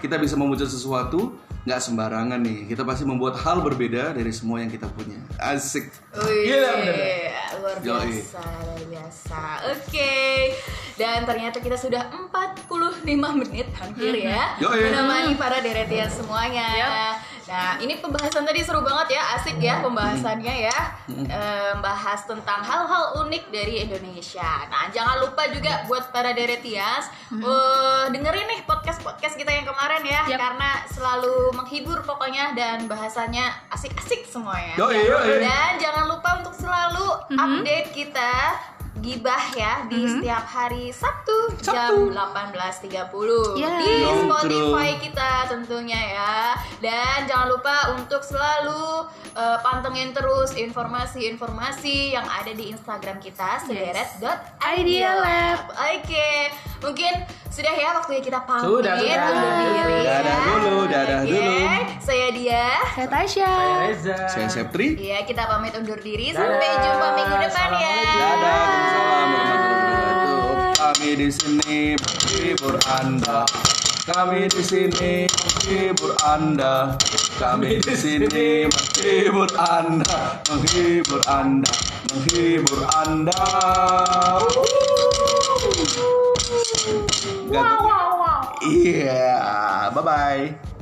A: kita bisa memuja sesuatu, nggak sembarangan nih. Kita pasti membuat hal berbeda dari semua yang kita punya. Asik.
B: Wih,
D: Gila, Iya, bener.
B: luar
A: Yoi.
B: biasa, luar biasa. Oke. Dan ternyata kita sudah 45 menit hampir ya
D: Mm-hmm.
A: Yoi. Iya.
B: menemani para deretian semuanya. Nah, ini pembahasan tadi seru banget ya, asik ya pembahasannya ya. Em, bahas tentang hal-hal unik dari Indonesia. Nah, jangan lupa juga buat para deretias eh, dengerin nih podcast-podcast kita yang kemarin ya
C: Yap.
B: karena selalu menghibur pokoknya dan bahasannya asik-asik semuanya.
A: Yoi, yoi.
B: Dan jangan lupa untuk selalu update kita gibah ya di setiap hari Sabtu,
A: Sabtu.
B: jam 18.30
C: Yeah.
B: di
A: Dongkru.
B: Spotify kita tentunya ya. Dan jangan lupa untuk selalu eh, pantengin terus informasi-informasi yang ada di Instagram kita sederet.idealab. Oke, mungkin sudah ya waktunya kita pamit
D: Sudah, sudah.
B: undur diri. ya.
A: Dadah dulu, dadah
B: Oke,
A: dulu.
B: Saya dia.
C: Saya Tasya.
D: Saya Reza.
A: Saya Septri.
B: Iya, kita pamit undur diri.
D: Dadah.
B: Sampai jumpa minggu depan ya.
D: Assalamualaikum.
A: Dadah, Waalaikumsalam warahmatullahi wabarakatuh. Kami di sini menghibur Anda. Kami di sini menghibur Anda. Kami di sini menghibur Anda. Menghibur Anda. Menghibur Anda. Wow, wow, wow. Iya, bye-bye.